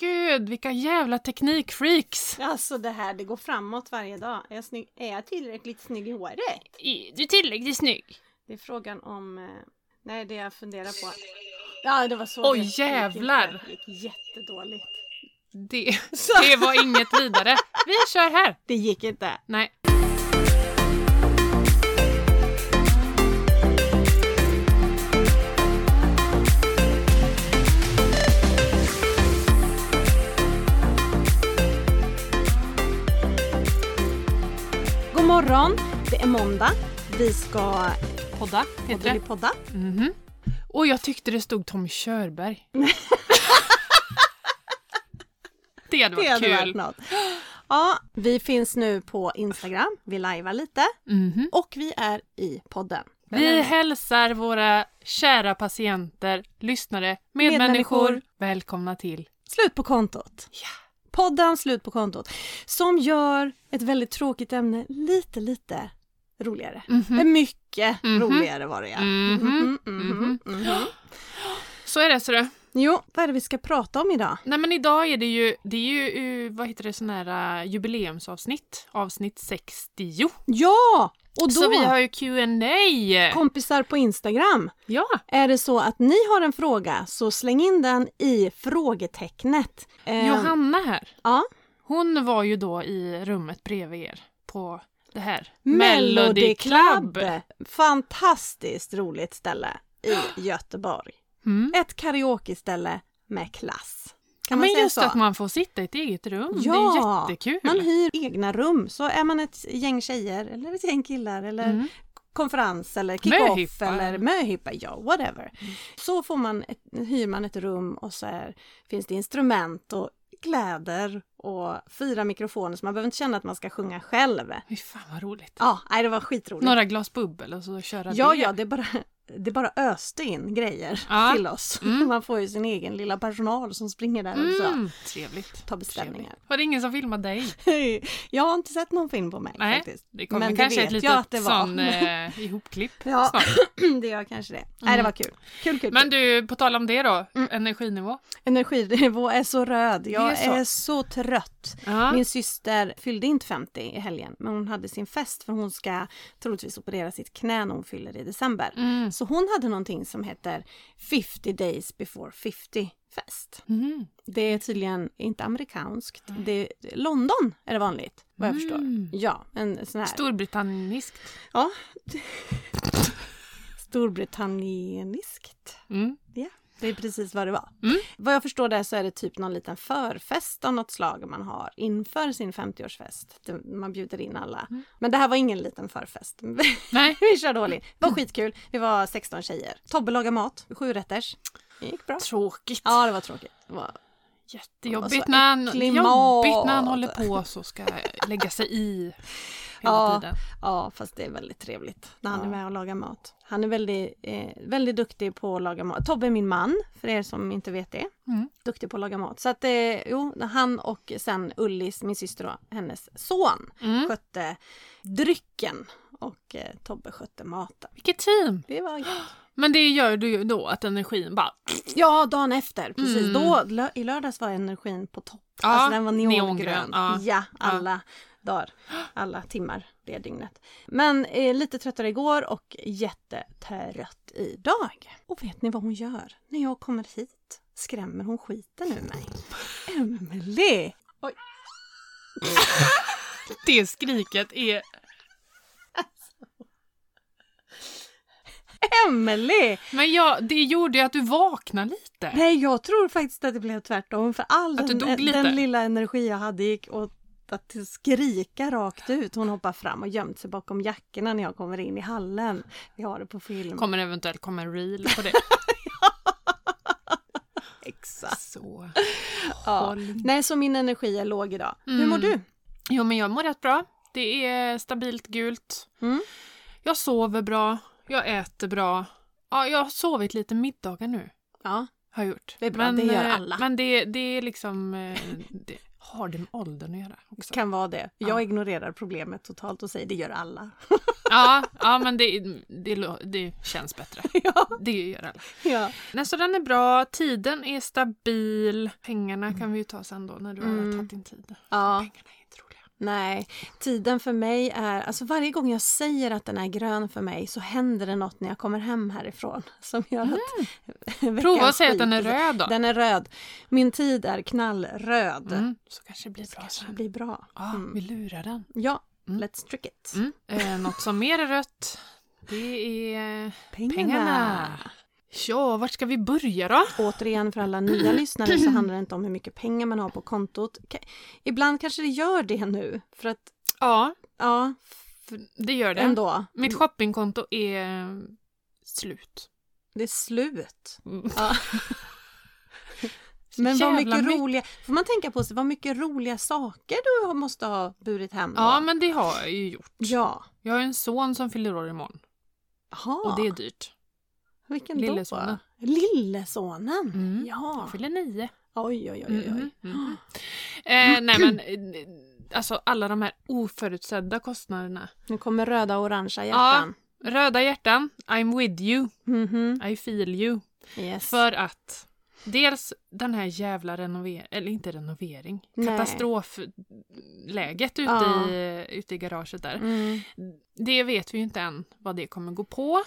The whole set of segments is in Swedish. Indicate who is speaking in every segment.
Speaker 1: gud, vilka jävla teknikfreaks!
Speaker 2: Alltså det här, det går framåt varje dag. Är jag, snygg, är jag tillräckligt snygg i håret?
Speaker 1: I- Du är tillräckligt snygg.
Speaker 2: Det är frågan om... eh, Nej, det jag funderar på. Ja, det var så.
Speaker 1: Oj,
Speaker 2: det gick inte.
Speaker 1: jävlar!
Speaker 2: Det gick jättedåligt.
Speaker 1: Det,
Speaker 2: Så,
Speaker 1: det var inget vidare. Vi kör här!
Speaker 2: det gick inte.
Speaker 1: Nej.
Speaker 2: God morgon, det är måndag. Vi ska
Speaker 1: Podda heter
Speaker 2: podda.
Speaker 1: det.
Speaker 2: podda.
Speaker 1: Mhm. Och jag tyckte det stod Tommy Körberg. det hade
Speaker 2: Det
Speaker 1: varit
Speaker 2: hade varit
Speaker 1: kul.
Speaker 2: något. Ja, vi finns nu på Instagram. Vi lajvar lite
Speaker 1: Mhm.
Speaker 2: och vi är i podden.
Speaker 1: Vi hälsar våra kära patienter, lyssnare, medmänniskor,
Speaker 2: Medmänniskor.
Speaker 1: välkomna till.
Speaker 2: Slut på kontot. Podden Slut på kontot. Som gör ett väldigt tråkigt ämne lite, lite roligare.
Speaker 1: Mhm.
Speaker 2: Men Mycket
Speaker 1: Mhm.
Speaker 2: roligare var det ja.
Speaker 1: Mhm.
Speaker 2: Mhm, mhm,
Speaker 1: Mhm.
Speaker 2: mhm.
Speaker 1: Så är det ser du.
Speaker 2: Jo, vad är det vi ska prata om idag?
Speaker 1: Nej men idag är det ju, det är ju, eh, vad heter det, sån här eh, jubileumsavsnitt, avsnitt 60.
Speaker 2: Ja! Och då,
Speaker 1: Så vi har ju Q&A.
Speaker 2: kompisar på Instagram.
Speaker 1: Ja,
Speaker 2: Är det så att ni har en fråga så släng in den i frågetecknet. Eh,
Speaker 1: Johanna här.
Speaker 2: Ja.
Speaker 1: Hon var ju då i rummet bredvid er på det här
Speaker 2: Melody Club! Fantastiskt roligt ställe i Göteborg.
Speaker 1: Mm.
Speaker 2: Ett karaokeställe med klass. Eh, Kan man
Speaker 1: Men
Speaker 2: säga
Speaker 1: just
Speaker 2: så?
Speaker 1: att man får sitta i ett eget rum,
Speaker 2: Ja,
Speaker 1: det är jättekul.
Speaker 2: Man hyr egna rum, så är man ett gäng tjejer eller ett gäng killar eller
Speaker 1: Mm.
Speaker 2: konferens eller kick-off
Speaker 1: Möhippa. Mm.
Speaker 2: eller möhippa, ja whatever. Så får man ett, hyr man ett rum och så är, finns det instrument och kläder och fyra mikrofoner så man behöver inte känna att man ska sjunga själv.
Speaker 1: Fy fan vad roligt.
Speaker 2: Ja, nej det var skitroligt.
Speaker 1: Några glas bubbel och så köra
Speaker 2: ja,
Speaker 1: det.
Speaker 2: ja, det bara, det bara öste in grejer
Speaker 1: Ja.
Speaker 2: till oss.
Speaker 1: Mm.
Speaker 2: Man får ju sin egen lilla personal som springer där också.
Speaker 1: Mm. Trevligt.
Speaker 2: Ta beställningar.
Speaker 1: Var det ingen som filmade dig?
Speaker 2: Jag har inte sett någon film på mig
Speaker 1: Nej,
Speaker 2: faktiskt.
Speaker 1: Det kommer
Speaker 2: Men det
Speaker 1: kanske
Speaker 2: vet
Speaker 1: ett
Speaker 2: jag
Speaker 1: litet
Speaker 2: att det var.
Speaker 1: sån eh, ihopklipp
Speaker 2: Ja.
Speaker 1: snart.
Speaker 2: det gör kanske det. Nej, det var kul. Kul, kul,
Speaker 1: Men
Speaker 2: kul.
Speaker 1: du, på tal om det då,
Speaker 2: Mm.
Speaker 1: energinivå.
Speaker 2: Energinivå är så röd. Jag är
Speaker 1: är så.
Speaker 2: så, trött.
Speaker 1: Ja.
Speaker 2: Min syster fyllde inte 50 i helgen, men hon hade sin fest för hon ska troligtvis operera sitt knä när hon fyller i december.
Speaker 1: Mm.
Speaker 2: Så hon hade någonting som heter 50 days before 50 fest.
Speaker 1: Mm.
Speaker 2: Det är tydligen inte amerikanskt. Det, London är det vanligt, vad jag förstår.
Speaker 1: Mm.
Speaker 2: Ja, en sån här...
Speaker 1: Storbritanniskt.
Speaker 2: Ja. Storbritannieniskt.
Speaker 1: Mm.
Speaker 2: Ja, det är precis vad det var.
Speaker 1: Mm.
Speaker 2: Vad jag förstår där så är det typ någon liten förfest av något slag man har inför sin 50-årsfest. Det- Man bjuder in alla. Men det här var ingen liten förfest.
Speaker 1: Nej.
Speaker 2: Vi körde all in. Det var skitkul. Vi var 16 tjejer. Tobbe lagade mat, sju rätters. Det gick bra.
Speaker 1: Tråkigt.
Speaker 2: Ja, alltså, det var tråkigt. Det var...
Speaker 1: Jättejobbigt
Speaker 2: Och så
Speaker 1: när, han,
Speaker 2: äcklig
Speaker 1: jobbigt
Speaker 2: mat.
Speaker 1: när han håller på så ska jag lägga sig i hela
Speaker 2: Ja.
Speaker 1: tiden.
Speaker 2: Ja, fast det är väldigt trevligt när han är
Speaker 1: Ja.
Speaker 2: med och lagar mat. Han är väldigt, eh, väldigt duktig på att laga mat. Tobbe är min man, för er som inte vet det.
Speaker 1: Mm.
Speaker 2: duktig på att laga mat. Så att eh, jo, han och sen Ullis, min syster och hennes son
Speaker 1: Mm.
Speaker 2: skötte drycken och eh, Tobbe skötte maten.
Speaker 1: Vilket team!
Speaker 2: Det var gött.
Speaker 1: Men det gör du ju då att energin bara...
Speaker 2: Ja, dagen efter, precis.
Speaker 1: Mm.
Speaker 2: Då, lö- I lördags var energin på topp.
Speaker 1: Ja,
Speaker 2: alltså den var neongrön.
Speaker 1: neongrön,
Speaker 2: ja.
Speaker 1: ja.
Speaker 2: alla dagar, alla timmar det dygnet. Men eh, lite tröttare igår och jättetrött idag. Och vet ni vad hon gör? När jag kommer hit skrämmer hon skiten ur mig. Emelie!
Speaker 1: Det skriket är...
Speaker 2: Emelie!
Speaker 1: Men ja, det gjorde ju att du vaknade lite.
Speaker 2: Nej, jag tror faktiskt att det blev tvärtom. För all
Speaker 1: Att du
Speaker 2: den,
Speaker 1: dog lite?
Speaker 2: den lilla energi jag hade gick åt att skrika rakt ut. Hon hoppar fram och gömt sig bakom jackorna när jag kommer in i hallen. Vi har det på film.
Speaker 1: Kommer eventuellt komma en reel på det.
Speaker 2: Exakt.
Speaker 1: Så.
Speaker 2: Ja.
Speaker 1: Håll
Speaker 2: Nej, så min energi är låg idag. Hur
Speaker 1: Mm.
Speaker 2: mår du?
Speaker 1: Jo, men jag mår rätt bra. Det är stabilt gult.
Speaker 2: Mm.
Speaker 1: Jag sover bra. Jag äter bra. Ja, jag har sovit lite middagar nu.
Speaker 2: Ja.
Speaker 1: Har jag gjort.
Speaker 2: Det är bra, det gör
Speaker 1: eh,
Speaker 2: alla.
Speaker 1: Men det, det är liksom... eh, Det har det med åldern att göra också?
Speaker 2: Kan vara det. Jag
Speaker 1: Ja.
Speaker 2: ignorerar problemet totalt och säger det gör alla.
Speaker 1: Ja, ja men det, det, lå- det känns bättre.
Speaker 2: ja.
Speaker 1: Det gör alla.
Speaker 2: ja.
Speaker 1: Nej, så den är bra, tiden är stabil. Pengarna kan vi ju ta sen då när du har
Speaker 2: Mm.
Speaker 1: tagit din tid.
Speaker 2: ja.
Speaker 1: Pengarna är inte roliga.
Speaker 2: Nej, tiden för mig är... Alltså varje gång jag säger att den är grön för mig så händer det något när jag kommer hem härifrån som gör att veckan
Speaker 1: Mm. Prova att säga att
Speaker 2: skiter
Speaker 1: den är
Speaker 2: sig.
Speaker 1: röd då.
Speaker 2: Den är röd. Min tid är knallröd.
Speaker 1: Mm, så kanske det blir
Speaker 2: Det
Speaker 1: bra
Speaker 2: kanske
Speaker 1: sen.
Speaker 2: blir bra.
Speaker 1: Ah,
Speaker 2: Mm.
Speaker 1: Vi lurar den.
Speaker 2: Ja,
Speaker 1: Mm.
Speaker 2: let's trick it.
Speaker 1: Mm. Eh, något som mer är rött, det är
Speaker 2: Pengarna.
Speaker 1: pengarna. Ja, vart ska vi börja då?
Speaker 2: Återigen för alla nya lyssnare så handlar det inte om hur mycket pengar man har på kontot. Ka- Ibland kanske det gör det nu för att,
Speaker 1: Ja,
Speaker 2: ja,
Speaker 1: det gör det.
Speaker 2: ändå.
Speaker 1: Mitt shoppingkonto är eh, slut.
Speaker 2: Det är slut.
Speaker 1: Mm.
Speaker 2: Ja.
Speaker 1: Så
Speaker 2: Men vad
Speaker 1: jävla
Speaker 2: mycket
Speaker 1: mycket.
Speaker 2: roliga, får man tänka på sig, vad mycket roliga saker du har- måste ha burit hem då?
Speaker 1: Ja, men det har jag ju gjort.
Speaker 2: Ja.
Speaker 1: Jag har ju en son som fyller år imorgon
Speaker 2: Jaha,
Speaker 1: och det är dyrt.
Speaker 2: vilken
Speaker 1: lillesonen.
Speaker 2: då? Lillesonen.
Speaker 1: Mm.
Speaker 2: Ja.
Speaker 1: Han fyller nio.
Speaker 2: Oj, oj, oj, oj.
Speaker 1: Mm, mm. Eh, nej men, eh, alltså alla de här oförutsedda kostnaderna.
Speaker 2: Nu kommer röda och orangea hjärtan.
Speaker 1: Röda hjärtan, I'm with you,
Speaker 2: Mhm.
Speaker 1: I feel you.
Speaker 2: Yes.
Speaker 1: För att dels den här jävla renovering, eller inte renovering,
Speaker 2: Nej.
Speaker 1: katastrofläget ute,
Speaker 2: Ja.
Speaker 1: i, ute i garaget där.
Speaker 2: Mm.
Speaker 1: Det vet vi ju inte än vad det kommer gå på.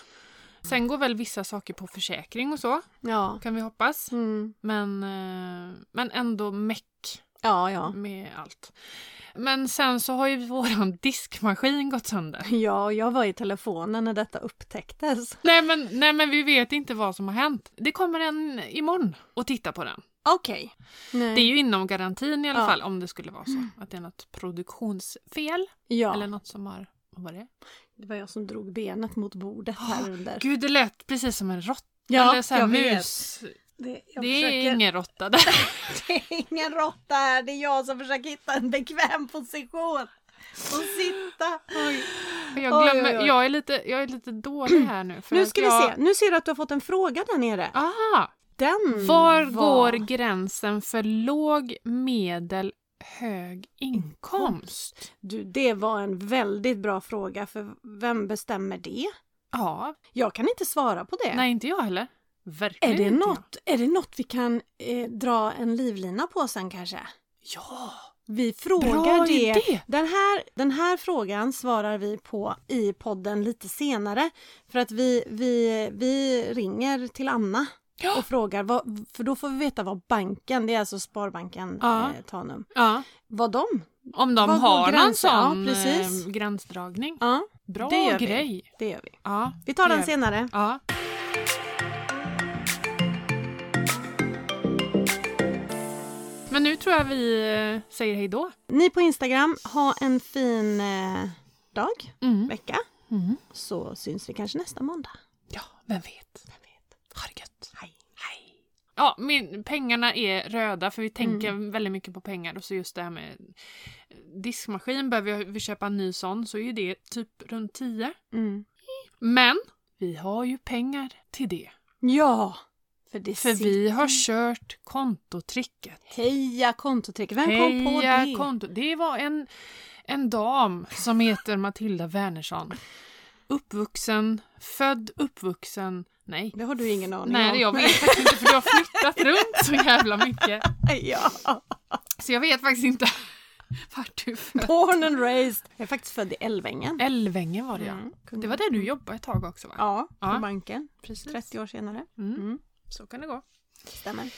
Speaker 1: Sen går väl vissa saker på försäkring och så,
Speaker 2: Ja.
Speaker 1: kan vi hoppas.
Speaker 2: Mm.
Speaker 1: Men, eh, men ändå meck
Speaker 2: Ja, ja.
Speaker 1: med allt. Men sen så har ju våran diskmaskin gått sönder.
Speaker 2: Ja, jag var i telefonen när detta upptäcktes.
Speaker 1: Nej men, nej men vi vet inte vad som har hänt. Det kommer en imorgon och titta på den.
Speaker 2: Okej.
Speaker 1: Det är ju inom garantin i alla
Speaker 2: Ja. Mm.
Speaker 1: fall om det skulle vara så. Att det är något produktionsfel
Speaker 2: Ja,
Speaker 1: eller något som har... Vad var det?
Speaker 2: det var jag som drog benet mot bordet här under.
Speaker 1: Ah, Gud det lät precis som en råtta. eller så här
Speaker 2: jag vet.
Speaker 1: mus.
Speaker 2: Det, jag
Speaker 1: Det är
Speaker 2: försöker-
Speaker 1: ingen råtta där.
Speaker 2: Det är ingen råtta här, det är jag som försöker hitta en bekväm position och sitta.
Speaker 1: Jag,
Speaker 2: Oj,
Speaker 1: glömmer,
Speaker 2: oj, oj.
Speaker 1: Jag, är lite, jag är lite dålig här nu. För
Speaker 2: Nu
Speaker 1: att
Speaker 2: ska vi
Speaker 1: jag...
Speaker 2: se, nu ser du att du har fått en fråga där nere.
Speaker 1: Aha!
Speaker 2: Den
Speaker 1: Var
Speaker 2: var-
Speaker 1: går gränsen för låg, medel, hög inkomst?
Speaker 2: Du, det var en väldigt bra fråga, för vem bestämmer det?
Speaker 1: Ja,
Speaker 2: Jag kan inte svara på det.
Speaker 1: nej inte jag heller.
Speaker 2: Är
Speaker 1: Verkligen
Speaker 2: det,
Speaker 1: inte
Speaker 2: något, är det något vi kan eh, dra en livlina på sen kanske?
Speaker 1: jag. Ja!
Speaker 2: Vi frågar
Speaker 1: Bra
Speaker 2: det.
Speaker 1: idé!
Speaker 2: Den här, den här frågan svarar vi på i podden lite senare. För att vi, vi, vi ringer till Anna
Speaker 1: Ja.
Speaker 2: och frågar, vad, för då får vi veta vad banken, det är alltså Sparbanken
Speaker 1: Ja.
Speaker 2: eh, Tanum,
Speaker 1: Ja,
Speaker 2: vad de...
Speaker 1: om de
Speaker 2: Var går
Speaker 1: har någon
Speaker 2: gränsen? Ja,
Speaker 1: sån
Speaker 2: precis.
Speaker 1: eh, gränsdragning.
Speaker 2: Ja,
Speaker 1: Bra
Speaker 2: det gör vi.
Speaker 1: grej!
Speaker 2: det gör vi.
Speaker 1: Ja,
Speaker 2: Vi
Speaker 1: det
Speaker 2: tar den
Speaker 1: gör vi.
Speaker 2: senare.
Speaker 1: ja. Men nu tror jag vi eh, säger hej då.
Speaker 2: Ni på Instagram, ha en fin eh, dag,
Speaker 1: Mm.
Speaker 2: vecka.
Speaker 1: Mm.
Speaker 2: Så syns vi kanske nästa måndag.
Speaker 1: Ja, vem vet?
Speaker 2: Vem vet?
Speaker 1: Ha det gött!
Speaker 2: Hej.
Speaker 1: Hej. Ja, min, pengarna är röda för vi tänker
Speaker 2: Mm.
Speaker 1: väldigt mycket på pengar och så just det här med eh, diskmaskin behöver jag- vi köpa en ny sån så är ju det typ runt 10.
Speaker 2: Mm.
Speaker 1: Men vi har ju pengar till det.
Speaker 2: Ja, för det
Speaker 1: För vi har kört kontotricket.
Speaker 2: Heja kontotrick! Vem kom på
Speaker 1: Heja
Speaker 2: det?
Speaker 1: konto. Det var en, en dam som heter Matilda Wernersson. Uppvuxen, född uppvuxen, nej.
Speaker 2: det har du ingen aning om.
Speaker 1: Nej, jag vet faktiskt inte för du har flyttat runt så jävla mycket.
Speaker 2: Ja.
Speaker 1: Så jag vet faktiskt inte vart du är född.
Speaker 2: Born and raised. Jag är faktiskt född i Älvängen.
Speaker 1: Älvängen var det ja. Det var där du jobbade ett tag också va?
Speaker 2: Mm. Ja, på
Speaker 1: Ja.
Speaker 2: banken.
Speaker 1: precis.
Speaker 2: 30 år senare.
Speaker 1: Mm.
Speaker 2: Mm.
Speaker 1: Så kan det gå.
Speaker 2: Stämmer.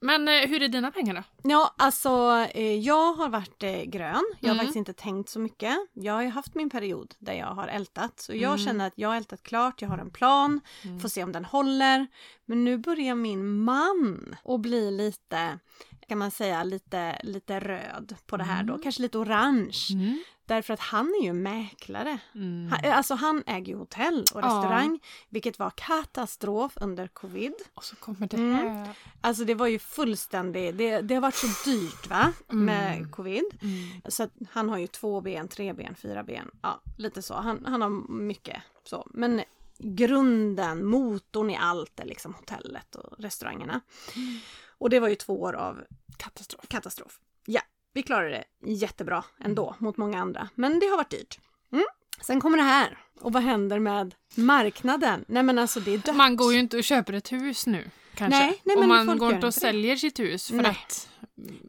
Speaker 1: Men eh, hur är dina pengar då?
Speaker 2: Ja, alltså eh, jag har varit eh, grön. Jag har
Speaker 1: Mm.
Speaker 2: faktiskt inte tänkt så mycket. Jag har ju haft min period där jag har ältat. Så jag
Speaker 1: Mm.
Speaker 2: känner att jag har ältat klart, jag har en plan,
Speaker 1: Mm.
Speaker 2: får se om den håller. Men nu börjar min man att bli lite, kan man säga, lite, lite röd på det här då. Kanske lite orange.
Speaker 1: Mm.
Speaker 2: Därför att han är ju mäklare.
Speaker 1: Mm.
Speaker 2: Han, alltså han äger ju hotell och
Speaker 1: Ja.
Speaker 2: restaurang, vilket var katastrof under covid.
Speaker 1: Och så kommer det
Speaker 2: Mm.
Speaker 1: här.
Speaker 2: Alltså det var ju fullständigt, det, det har varit så dyrt va, med
Speaker 1: Mm.
Speaker 2: covid.
Speaker 1: Mm.
Speaker 2: Så att han har ju två ben, tre ben, fyra ben, ja lite så. Han, han har mycket så. Men grunden, motorn i allt är liksom hotellet och restaurangerna. Och det var ju två år av
Speaker 1: Katastrof.
Speaker 2: katastrof. Ja, vi klarade det jättebra ändå mot många andra. Men det har varit dyrt. Mm. Sen kommer det här. Och vad händer med marknaden? Nej men alltså det är dött.
Speaker 1: Man går ju inte och köper ett hus nu. Kanske.
Speaker 2: Nej, nej,
Speaker 1: och
Speaker 2: men
Speaker 1: man
Speaker 2: folk
Speaker 1: går
Speaker 2: gör
Speaker 1: inte och
Speaker 2: inte det.
Speaker 1: säljer sitt hus för
Speaker 2: Nej.
Speaker 1: att...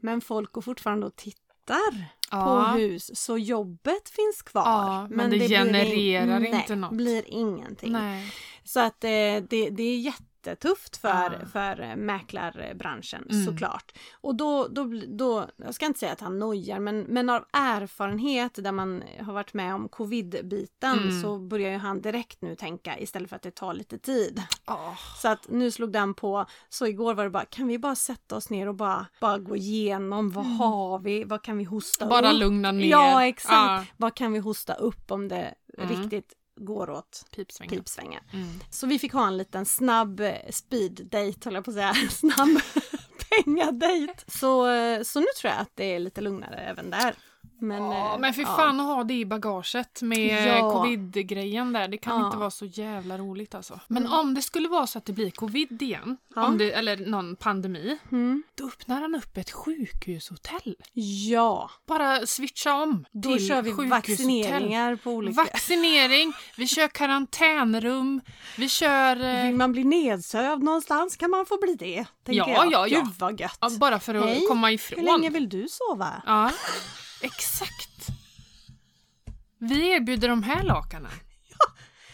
Speaker 2: Men folk går fortfarande och tittar
Speaker 1: Ja.
Speaker 2: på hus. Så jobbet finns kvar.
Speaker 1: Ja, men det
Speaker 2: blir in-
Speaker 1: genererar
Speaker 2: nej,
Speaker 1: inte något.
Speaker 2: blir ingenting.
Speaker 1: Nej.
Speaker 2: Så att eh, det, det är jättetufft för,
Speaker 1: Ja.
Speaker 2: för eh, mäklarbranschen
Speaker 1: Mm.
Speaker 2: såklart. Och då, då, bli- då, jag ska inte säga att han nojar, men, men av erfarenhet där man har varit med om covid-biten
Speaker 1: Mm.
Speaker 2: så börjar ju han direkt nu tänka istället för att det tar lite tid.
Speaker 1: Ja.
Speaker 2: Så att nu slog den på, så igår var det bara, kan vi bara sätta oss ner och bara, bara gå igenom, vad har vi, vad kan vi hosta
Speaker 1: Mm. Bara
Speaker 2: upp?
Speaker 1: lugna ner.
Speaker 2: Oh. Ja, exakt.
Speaker 1: Ja.
Speaker 2: Vad kan vi hosta upp om det
Speaker 1: Mm.
Speaker 2: riktigt går åt
Speaker 1: Pipsvängen.
Speaker 2: pipsvängen?
Speaker 1: Mm.
Speaker 2: Så vi fick ha en liten snabb eh, speed date höll jag på att säga. Snabb pengadejt. Så, eh, så nu tror jag att det är lite lugnare även där. Men,
Speaker 1: Ja,
Speaker 2: eh,
Speaker 1: men för
Speaker 2: ja.
Speaker 1: fan att ha det i bagaget med eh,
Speaker 2: Ja.
Speaker 1: covid-grejen där. Det kan
Speaker 2: Ja. Mm.
Speaker 1: inte vara så jävla roligt alltså. Men om det skulle vara så att det blir covid igen,
Speaker 2: Ja.
Speaker 1: om det, eller någon pandemi,
Speaker 2: Mm.
Speaker 1: då öppnar han upp ett sjukhushotell.
Speaker 2: Ja,
Speaker 1: Bara switcha om
Speaker 2: då
Speaker 1: till
Speaker 2: kör vi
Speaker 1: sjukhushotell.
Speaker 2: vaccineringar på olika...
Speaker 1: Vaccinering, vi kör karantänrum, vi kör... eh,
Speaker 2: Vill man bli nedsövd någonstans kan man få bli det. Tänker
Speaker 1: Ja,
Speaker 2: jag.
Speaker 1: ja, ja.
Speaker 2: Gud vad gött.
Speaker 1: ja, bara för att
Speaker 2: Hej,
Speaker 1: komma
Speaker 2: Hur
Speaker 1: ifrån.
Speaker 2: länge vill du sova?
Speaker 1: Ja, exakt. Vi erbjuder de här lakanen.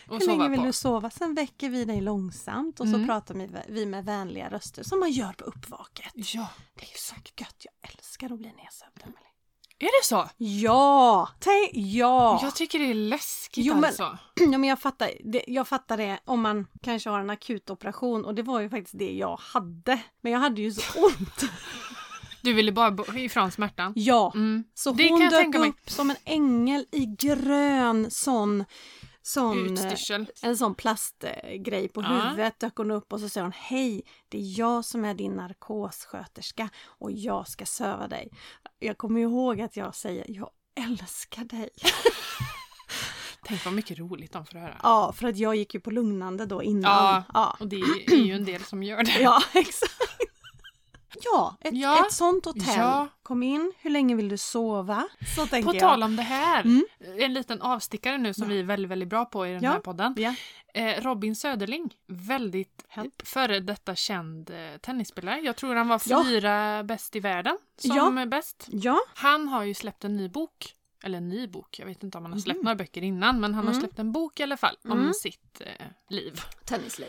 Speaker 1: Ja,
Speaker 2: Hur länge vill du sova? Sen väcker vi dig långsamt och
Speaker 1: Mm.
Speaker 2: så pratar vi- vi med vänliga röster som man gör på uppvaket.
Speaker 1: Ja,
Speaker 2: Det är ju så gött. Jag älskar att bli nedsövd, Emelie.
Speaker 1: är det så?
Speaker 2: Ja! Tänk, ja!
Speaker 1: Jag tycker det är läskigt
Speaker 2: Jo, men-
Speaker 1: alltså.
Speaker 2: ja men jag, fattar, det, jag fattar det om man kanske har en akut operation och det var ju faktiskt det jag hade. Men jag hade ju så ont.
Speaker 1: Du ville bara bo- ifrån smärtan.
Speaker 2: Ja,
Speaker 1: Mm.
Speaker 2: så
Speaker 1: Det kan
Speaker 2: hon
Speaker 1: jag
Speaker 2: dök
Speaker 1: tänka mig.
Speaker 2: upp som en ängel i grön sån... sån eh,
Speaker 1: Utstyrsel.
Speaker 2: en sån plastgrej på
Speaker 1: Ja.
Speaker 2: huvudet dök hon upp och så säger hon Hej, det är jag som är din narkossköterska och jag ska söva dig. Jag kommer ihåg att jag säger jag älskar dig.
Speaker 1: Tänk vad mycket roligt de får höra.
Speaker 2: Ja, för att jag gick ju på lugnande då innan.
Speaker 1: Ja.
Speaker 2: Ja,
Speaker 1: Och det är ju en del som gör det.
Speaker 2: ja exakt. Ja ett,
Speaker 1: Ja.
Speaker 2: ett sånt hotell.
Speaker 1: Ja.
Speaker 2: Kom in, hur länge vill du sova? Så tänker
Speaker 1: På
Speaker 2: jag.
Speaker 1: tal om det här,
Speaker 2: Mm.
Speaker 1: en liten avstickare nu som vi är väldigt, väldigt bra på i den
Speaker 2: Ja.
Speaker 1: här podden.
Speaker 2: Ja.
Speaker 1: Eh, Robin Söderling, väldigt
Speaker 2: Help.
Speaker 1: före detta känd eh, tennisspelare. Jag tror han var
Speaker 2: Ja.
Speaker 1: fyra bäst i världen som
Speaker 2: Ja.
Speaker 1: är bäst.
Speaker 2: ja.
Speaker 1: Han har ju släppt en ny bok. Eller en ny bok, jag vet inte om han har släppt några böcker innan men han har
Speaker 2: Mhm. Mm.
Speaker 1: släppt en bok i alla fall om
Speaker 2: Mm.
Speaker 1: sitt eh, liv.
Speaker 2: Tennisliv.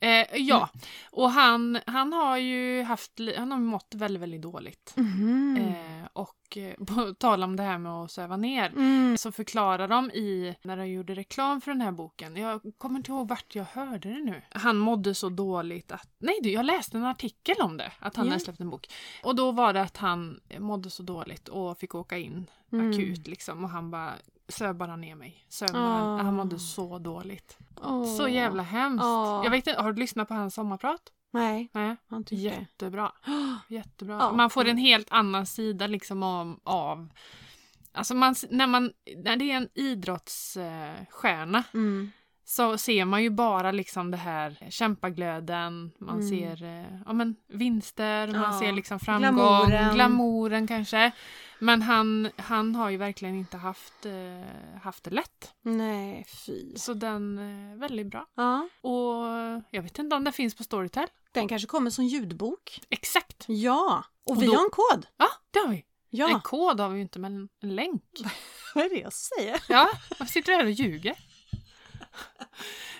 Speaker 1: Eh, ja,
Speaker 2: Mm.
Speaker 1: och han, han har ju haft, li- han har mått väldigt, väldigt dåligt.
Speaker 2: Mhm.
Speaker 1: Eh, och eh, på tal om det här med att söva ner
Speaker 2: Mm.
Speaker 1: så förklarar de i, när de gjorde reklam för den här boken, jag kommer inte ihåg vart jag hörde det nu. Han mådde så dåligt att, nej du, jag läste en artikel om det, att han
Speaker 2: Ja.
Speaker 1: hade släppt en bok. Och då var det att han mådde så dåligt och fick åka in
Speaker 2: Mm.
Speaker 1: akut liksom och han bara, söv bara ner mig. Söv bara.
Speaker 2: Ah.
Speaker 1: Han mådde så dåligt.
Speaker 2: Åh.
Speaker 1: Så jävla hemskt.
Speaker 2: Ah.
Speaker 1: Jag vet inte, har du lyssnat på hans sommarprat?
Speaker 2: Nej,
Speaker 1: Nej.
Speaker 2: jag har inte gjort det.
Speaker 1: Jättebra. Jättebra.
Speaker 2: Ja.
Speaker 1: Man får en helt annan sida liksom av... av alltså man, när, man, när det är en idrottsstjärna
Speaker 2: Mm.
Speaker 1: så ser man ju bara liksom det här kämpaglöden, man
Speaker 2: Mm.
Speaker 1: ser eh, ja, men, vinster, man
Speaker 2: Ja.
Speaker 1: ser liksom framgång,
Speaker 2: Glamouren.
Speaker 1: glamouren, kanske. Men han, han har ju verkligen inte haft, eh, haft det lätt.
Speaker 2: Nej, fy.
Speaker 1: Så den är väldigt bra.
Speaker 2: Ja.
Speaker 1: Och jag vet inte om den finns på Storytel.
Speaker 2: Den kanske kommer som ljudbok.
Speaker 1: Exakt!
Speaker 2: Ja, och,
Speaker 1: Och
Speaker 2: vi
Speaker 1: då-
Speaker 2: har en kod.
Speaker 1: Ja, det har vi.
Speaker 2: Ja,
Speaker 1: En kod har vi ju inte, men en länk.
Speaker 2: vad är det jag säger?
Speaker 1: Ja, varför sitter du här och ljuger?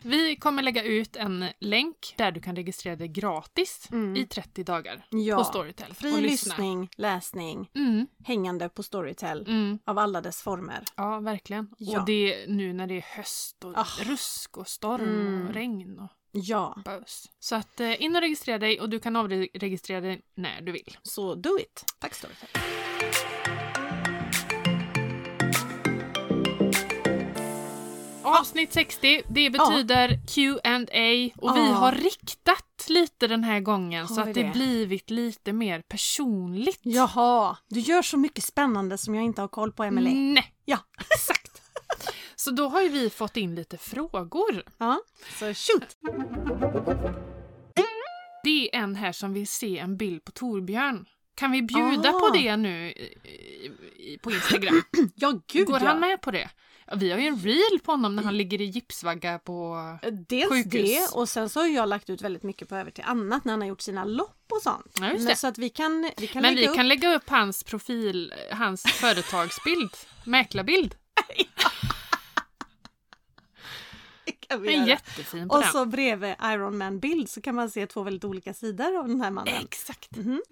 Speaker 1: Vi kommer lägga ut en länk där du kan registrera dig gratis
Speaker 2: Mm.
Speaker 1: i 30 dagar
Speaker 2: Ja.
Speaker 1: på Storytel.
Speaker 2: Fri
Speaker 1: och lyssna.
Speaker 2: lyssning, läsning,
Speaker 1: Mm,
Speaker 2: hängande på Storytel
Speaker 1: mm,
Speaker 2: av alla dess former.
Speaker 1: ja, verkligen.
Speaker 2: Ja.
Speaker 1: Och det nu när det är höst och
Speaker 2: Ah.
Speaker 1: rusk och storm
Speaker 2: Mm.
Speaker 1: och regn och
Speaker 2: Ja,
Speaker 1: bös. Så att eh, in och registrera dig och du kan avregistrera dig när du vill.
Speaker 2: så do it. Tack Storytel. Ah.
Speaker 1: Avsnitt 60, det betyder Q&A och vi
Speaker 2: Ja.
Speaker 1: har riktat lite den här gången
Speaker 2: Ah. Har
Speaker 1: så
Speaker 2: vi
Speaker 1: att det
Speaker 2: det?
Speaker 1: blivit lite mer personligt.
Speaker 2: Jaha, du gör så mycket spännande som jag inte har koll på Emelie.
Speaker 1: Nej,
Speaker 2: Ja.
Speaker 1: exakt. Så då har ju vi fått in lite frågor.
Speaker 2: Ja, så shoot!
Speaker 1: Det är en här som vill se en bild på Torbjörn. Kan vi bjuda på
Speaker 2: Ah.
Speaker 1: det nu i- i- på Instagram?
Speaker 2: Ja, gud
Speaker 1: Går
Speaker 2: ja.
Speaker 1: han med på det? Ja, Vi har ju en reel på honom när han ligger i gipsvagga på...
Speaker 2: Dels
Speaker 1: Sjukhus.
Speaker 2: det och sen så har jag lagt ut väldigt mycket på över till annat när han har gjort sina lopp och sånt.
Speaker 1: Ja, just
Speaker 2: Men
Speaker 1: det.
Speaker 2: Så att vi kan, vi kan
Speaker 1: Men
Speaker 2: lägga
Speaker 1: vi
Speaker 2: upp
Speaker 1: kan lägga upp hans profil, hans företagsbild, mäklarbild.
Speaker 2: det kan
Speaker 1: En
Speaker 2: vi göra.
Speaker 1: jättefin på
Speaker 2: Och
Speaker 1: den.
Speaker 2: så bredvid Iron Man bild så kan man se två väldigt olika sidor av den här mannen.
Speaker 1: Exakt.
Speaker 2: Mhm.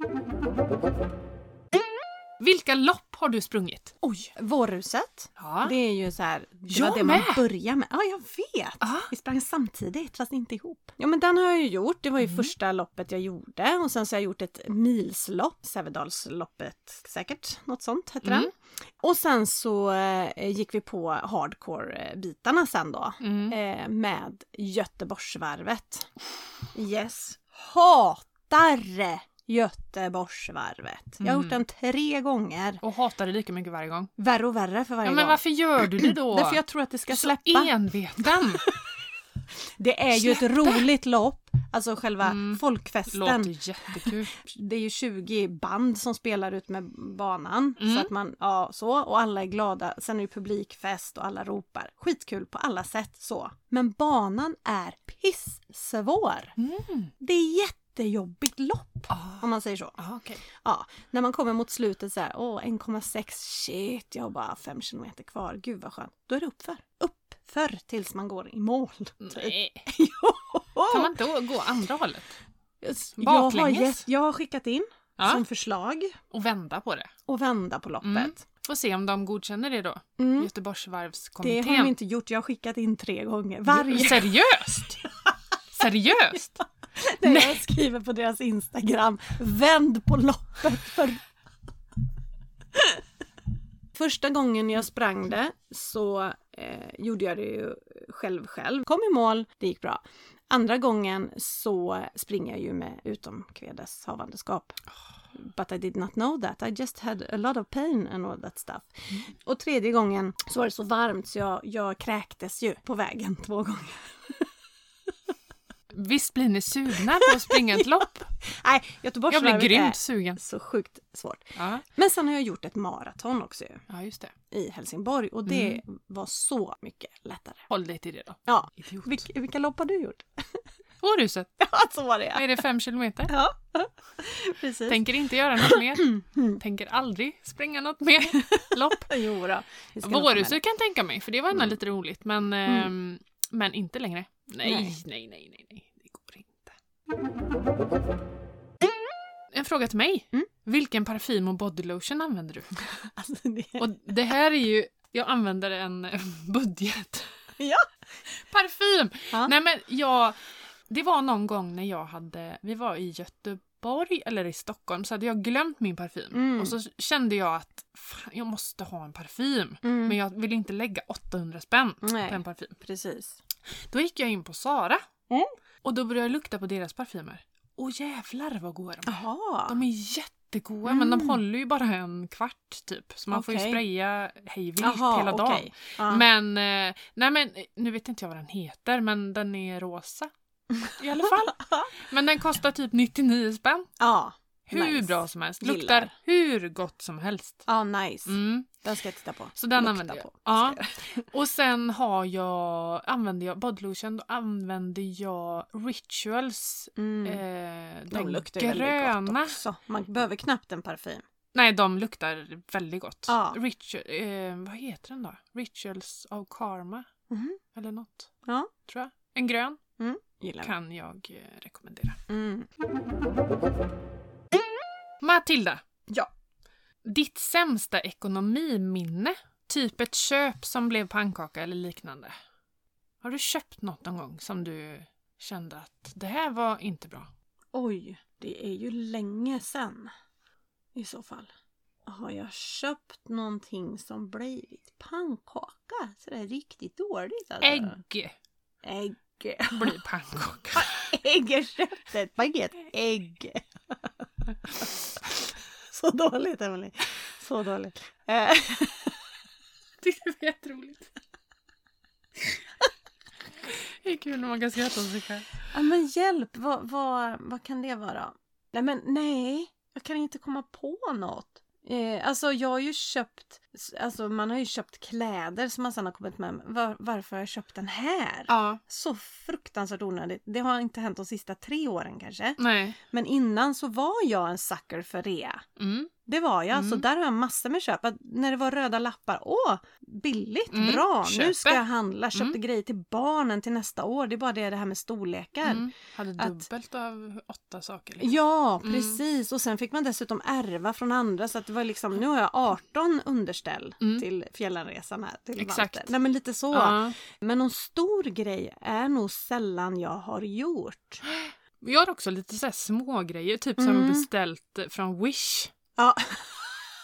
Speaker 1: Vilka lopp har du sprungit?
Speaker 2: Oj! Vårruset.
Speaker 1: Ja.
Speaker 2: Det är ju så här, det
Speaker 1: Jag
Speaker 2: var det man
Speaker 1: med.
Speaker 2: började med. Ja, jag vet!
Speaker 1: Ah.
Speaker 2: Vi sprang samtidigt fast inte ihop. Ja, men den har jag ju gjort. Det var
Speaker 1: Mm.
Speaker 2: ju första loppet jag gjorde och sen så har jag gjort ett milslopp, Sävedalsloppet säkert, något sånt hette
Speaker 1: Mm.
Speaker 2: den. Och sen så eh, gick vi på hardcore-bitarna sen då
Speaker 1: Mm.
Speaker 2: eh, med Göteborgsvarvet. Yes. Hatar Göteborgsvarvet. Jag har gjort
Speaker 1: Mm.
Speaker 2: den tre gånger.
Speaker 1: Och hatar det lika mycket varje gång.
Speaker 2: Värre och värre för varje
Speaker 1: Ja, men
Speaker 2: gång.
Speaker 1: varför gör du det då?
Speaker 2: Därför jag tror att det ska släppa.
Speaker 1: Så enveten.
Speaker 2: Det är ju ett roligt lopp. Alltså själva
Speaker 1: Mm.
Speaker 2: folkfesten.
Speaker 1: Låter jättekul.
Speaker 2: Det är ju 20 band som spelar ut med banan.
Speaker 1: Mm.
Speaker 2: Så att man, ja så. Och alla är glada. Sen är det publikfest och alla ropar. Skitkul på alla sätt så. Men banan är pissvår.
Speaker 1: Mm.
Speaker 2: Det är jättejobbigt lopp.
Speaker 1: Ah.
Speaker 2: Om man säger så.
Speaker 1: Ah, okej.
Speaker 2: Ja, när man kommer mot slutet så här, åh 1,6 shit, jag har bara 5 kilometer kvar, gud vad skönt. Då är det uppför, uppför tills man går i mål. Typ.
Speaker 1: Nej. Mm. Kan
Speaker 2: Jo!
Speaker 1: man inte gå andra hållet?
Speaker 2: Jag har,
Speaker 1: baklänges?
Speaker 2: gett, jag har skickat in
Speaker 1: Ja.
Speaker 2: som förslag
Speaker 1: Och vända på det?
Speaker 2: och vända på
Speaker 1: Mm.
Speaker 2: loppet.
Speaker 1: Får se om de godkänner det då.
Speaker 2: Mm. Det
Speaker 1: Göteborgsvarvskommittén.
Speaker 2: har de inte gjort, jag har skickat in tre gånger. Varje
Speaker 1: Seriöst? Seriöst?
Speaker 2: när jag skriver på deras Instagram, vänd på loppet för... Första gången jag sprang det så eh, gjorde jag det ju själv själv. Kom i mål, det gick bra. Andra gången så springer jag ju med utomkvedeshavandeskap. But I did not know that. I just had a lot of pain and all that stuff. Och tredje gången så var det så varmt så jag, jag kräktes ju på vägen två gånger.
Speaker 1: Visst blir ni sugna på att springa ett lopp? Jag
Speaker 2: Nej,
Speaker 1: blir
Speaker 2: Göteborgsvarvet
Speaker 1: grymt
Speaker 2: är
Speaker 1: sugen.
Speaker 2: så sjukt svårt.
Speaker 1: Ja,
Speaker 2: Men sen har jag gjort ett maraton också ju,
Speaker 1: ja just det.
Speaker 2: i Helsingborg och det
Speaker 1: Mm.
Speaker 2: var så mycket lättare.
Speaker 1: Håll dig till det då.
Speaker 2: Ja.
Speaker 1: Idiot.
Speaker 2: Vilka, vilka lopp har du gjort?
Speaker 1: Århuset,
Speaker 2: Ja, så var det ja.
Speaker 1: är det fem kilometer?
Speaker 2: ja. Precis.
Speaker 1: Tänker inte göra något
Speaker 2: Mm.
Speaker 1: mer. Tänker aldrig springa något mer lopp.
Speaker 2: Jo då. vi ska nog ta med det.
Speaker 1: Vårhuset kan jag tänka mig, för det var
Speaker 2: Mm.
Speaker 1: ändå lite roligt. Men, ehm, men inte längre. Nej,
Speaker 2: Nej.
Speaker 1: nej, nej, nej, nej. Det går inte. En fråga till mig.
Speaker 2: Mm.
Speaker 1: Vilken parfym och bodylotion använder du?
Speaker 2: Alltså, det...
Speaker 1: Och det här är ju, jag använder en eh, budget.
Speaker 2: Ja.
Speaker 1: Parfym!
Speaker 2: Ja.
Speaker 1: Nej men jag, det var någon gång när jag hade, vi var i Göteborg eller i Stockholm så hade jag glömt min parfym.
Speaker 2: Mm.
Speaker 1: Och så kände jag att fan, jag måste ha en parfym.
Speaker 2: Mm.
Speaker 1: Men jag ville inte lägga 800 spänn på en
Speaker 2: Nej,
Speaker 1: parfym.
Speaker 2: precis.
Speaker 1: Då gick jag in på Sara.
Speaker 2: Mm.
Speaker 1: Och då började jag lukta på deras parfymer. Och jävlar vad goda de är.
Speaker 2: Jaha.
Speaker 1: De är jättegoda men de
Speaker 2: Ah. Mm.
Speaker 1: håller ju bara en kvart typ. Så man får ju
Speaker 2: Okej.
Speaker 1: spraya hej vilt
Speaker 2: Jaha,
Speaker 1: hela dagen.
Speaker 2: okej. Ah. Ja.
Speaker 1: Men, eh, nej men eh, nu vet inte jag vad den heter men den är rosa. I alla fall. Men den kostar typ 99 spänn.
Speaker 2: Ja.
Speaker 1: Hur
Speaker 2: Nice.
Speaker 1: bra som helst.
Speaker 2: Gillar. Ah.
Speaker 1: Luktar hur gott som helst.
Speaker 2: Ja, nice.
Speaker 1: Mm.
Speaker 2: Den ska jag titta på.
Speaker 1: Så den
Speaker 2: Lukta
Speaker 1: använder jag.
Speaker 2: på.
Speaker 1: Ja. Och sen har jag, använder jag bodylotion, då använder jag rituals.
Speaker 2: Mm.
Speaker 1: Eh,
Speaker 2: De
Speaker 1: den
Speaker 2: luktar ju väldigt
Speaker 1: gröna.
Speaker 2: gott också. Man behöver knappt en parfym.
Speaker 1: Nej, de luktar väldigt gott.
Speaker 2: Ja.
Speaker 1: Ritual, eh, vad heter den då? Rituals of Karma.
Speaker 2: Mhm.
Speaker 1: Eller något.
Speaker 2: Ja.
Speaker 1: Tror jag. En grön
Speaker 2: Gillar den.
Speaker 1: kan jag eh, rekommendera.
Speaker 2: Mm.
Speaker 1: Matilda!
Speaker 2: Ja.
Speaker 1: Ditt sämsta ekonomiminne? Typ ett köp som blev pannkaka eller liknande. Har du köpt något någon gång som du kände att det här var inte bra?
Speaker 2: Oj, det är ju länge sedan. I så fall. Har jag köpt någonting som blivit pannkaka? Så det är riktigt dåligt
Speaker 1: Äh.
Speaker 2: alltså.
Speaker 1: Ägg
Speaker 2: Ägg.
Speaker 1: blir pannkaka.
Speaker 2: Ägg. Jag köpte ett paket ägg. Så dåligt Emily. Så dåligt. Eh,
Speaker 1: tyckte det var jätteroligt. Det är kul när man kan skratta åt sig själv.
Speaker 2: ja, men hjälp, vad, vad, vad kan det vara? Nej men nej, jag kan inte komma på något. Eh, alltså jag har ju köpt s- Alltså man har ju köpt kläder som man sen har kommit med. Var, varför har jag köpt den här?
Speaker 1: Ja.
Speaker 2: Så fruktansvärt onödigt. Det har inte hänt de sista tre åren kanske.
Speaker 1: Nej.
Speaker 2: Men innan så var jag en sucker för rea.
Speaker 1: Mm.
Speaker 2: Det var jag.
Speaker 1: Mm.
Speaker 2: Så där har jag massor med köp. Att När det var röda lappar. Åh, billigt,
Speaker 1: Mm,
Speaker 2: bra, nu
Speaker 1: köper.
Speaker 2: ska jag handla. Köpte
Speaker 1: Mm.
Speaker 2: grejer till barnen till nästa år. Det är bara det, det här med storlekar.
Speaker 1: Mm. Hade
Speaker 2: Att-
Speaker 1: dubbelt av åtta saker. liksom.
Speaker 2: Ja,
Speaker 1: Mm.
Speaker 2: precis. Och sen fick man dessutom ärva från andra så att det var liksom, nu har jag 18 underställ
Speaker 1: Mm.
Speaker 2: till fjällanresan här till
Speaker 1: Exakt.
Speaker 2: Walter. Nej men lite så.
Speaker 1: Ja.
Speaker 2: Men någon stor grej är nog sällan jag har gjort.
Speaker 1: Vi har också lite så här små grejer, typ som
Speaker 2: Mm.
Speaker 1: beställt från Wish.
Speaker 2: Ja.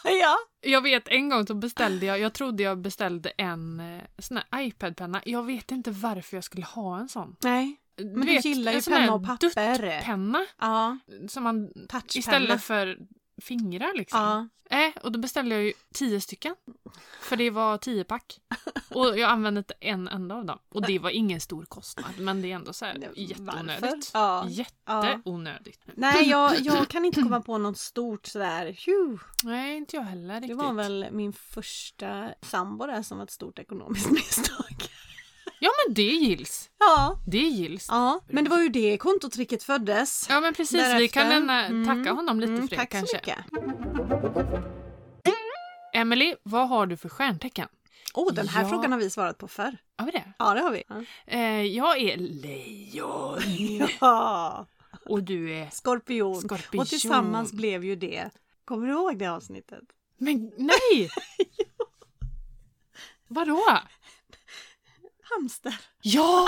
Speaker 2: ja.
Speaker 1: Jag vet en gång så beställde jag, jag trodde jag beställde en eh, sån här iPad-penna. Jag vet inte varför jag skulle ha en sån.
Speaker 2: Nej.
Speaker 1: Du
Speaker 2: Men du gillar ju
Speaker 1: en sån här
Speaker 2: penna och papper.
Speaker 1: duttpenna
Speaker 2: Ja.
Speaker 1: som man
Speaker 2: Touchpenna.
Speaker 1: istället för fingrar liksom.
Speaker 2: Ja.
Speaker 1: Äh, och då beställde jag ju tio stycken. För det var tio pack. Och jag använde inte en enda av dem. Och det var ingen stor kostnad men det är ändå så här jätteonödigt.
Speaker 2: Varför? Ja.
Speaker 1: Jätteonödigt.
Speaker 2: Nej, jag, jag kan inte komma på något stort sådär. Tju.
Speaker 1: Nej, inte jag heller
Speaker 2: Det
Speaker 1: riktigt.
Speaker 2: var väl min första sambo där som var ett stort ekonomiskt misstag.
Speaker 1: Ja men det gills.
Speaker 2: Ja.
Speaker 1: Det gills.
Speaker 2: Ja, men det var ju det kontotricket föddes.
Speaker 1: Ja men precis, vi
Speaker 2: Därefter.
Speaker 1: kan lämna,
Speaker 2: Mm.
Speaker 1: tacka honom lite
Speaker 2: Mm,
Speaker 1: för det
Speaker 2: tack
Speaker 1: kanske.
Speaker 2: så mycket.
Speaker 1: Emily, vad har du för stjärntecken?
Speaker 2: Åh, den här
Speaker 1: Ja.
Speaker 2: frågan har vi svarat på förr.
Speaker 1: Har vi det?
Speaker 2: Ja, det har vi.
Speaker 1: Eh, jag är lejon
Speaker 2: Ja,
Speaker 1: och du är
Speaker 2: skorpion.
Speaker 1: skorpion.
Speaker 2: Och tillsammans blev ju det. Kommer du ihåg det avsnittet?
Speaker 1: Men nej! Vadå?
Speaker 2: Hamster.
Speaker 1: Ja!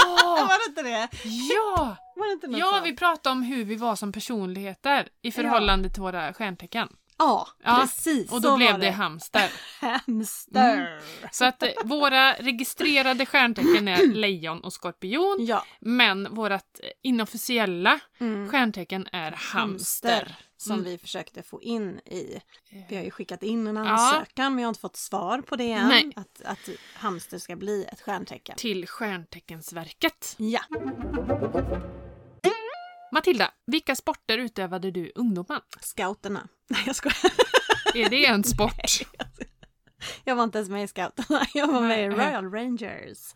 Speaker 2: Var det inte det?
Speaker 1: Ja!
Speaker 2: Var det inte något
Speaker 1: Ja,
Speaker 2: sånt?
Speaker 1: vi pratade om hur vi var som personligheter i förhållande till våra stjärntecken.
Speaker 2: ja,
Speaker 1: Ja,
Speaker 2: precis.
Speaker 1: Och
Speaker 2: så
Speaker 1: då blev
Speaker 2: var
Speaker 1: det hamster.
Speaker 2: hamster.
Speaker 1: Så att eh, våra registrerade stjärntecken är lejon och skorpion.
Speaker 2: Ja.
Speaker 1: Men vårt eh, inofficiella
Speaker 2: Mm.
Speaker 1: stjärntecken är hamster.
Speaker 2: Som
Speaker 1: Mm.
Speaker 2: vi försökte få in i.
Speaker 1: Eh,
Speaker 2: Vi har ju skickat in en
Speaker 1: Ja.
Speaker 2: ansökan men jag har inte fått svar på det än.
Speaker 1: Nej.
Speaker 2: Att, att hamster ska bli ett stjärntecken.
Speaker 1: Till stjärnteckensverket.
Speaker 2: Ja.
Speaker 1: Matilda, vilka sporter utövade du i ungdomen?
Speaker 2: Scouterna. Nej jag skojar.
Speaker 1: Är det en sport?
Speaker 2: Jag var inte ens med i Scouterna. Jag var med i
Speaker 1: Nej.
Speaker 2: Royal Rangers.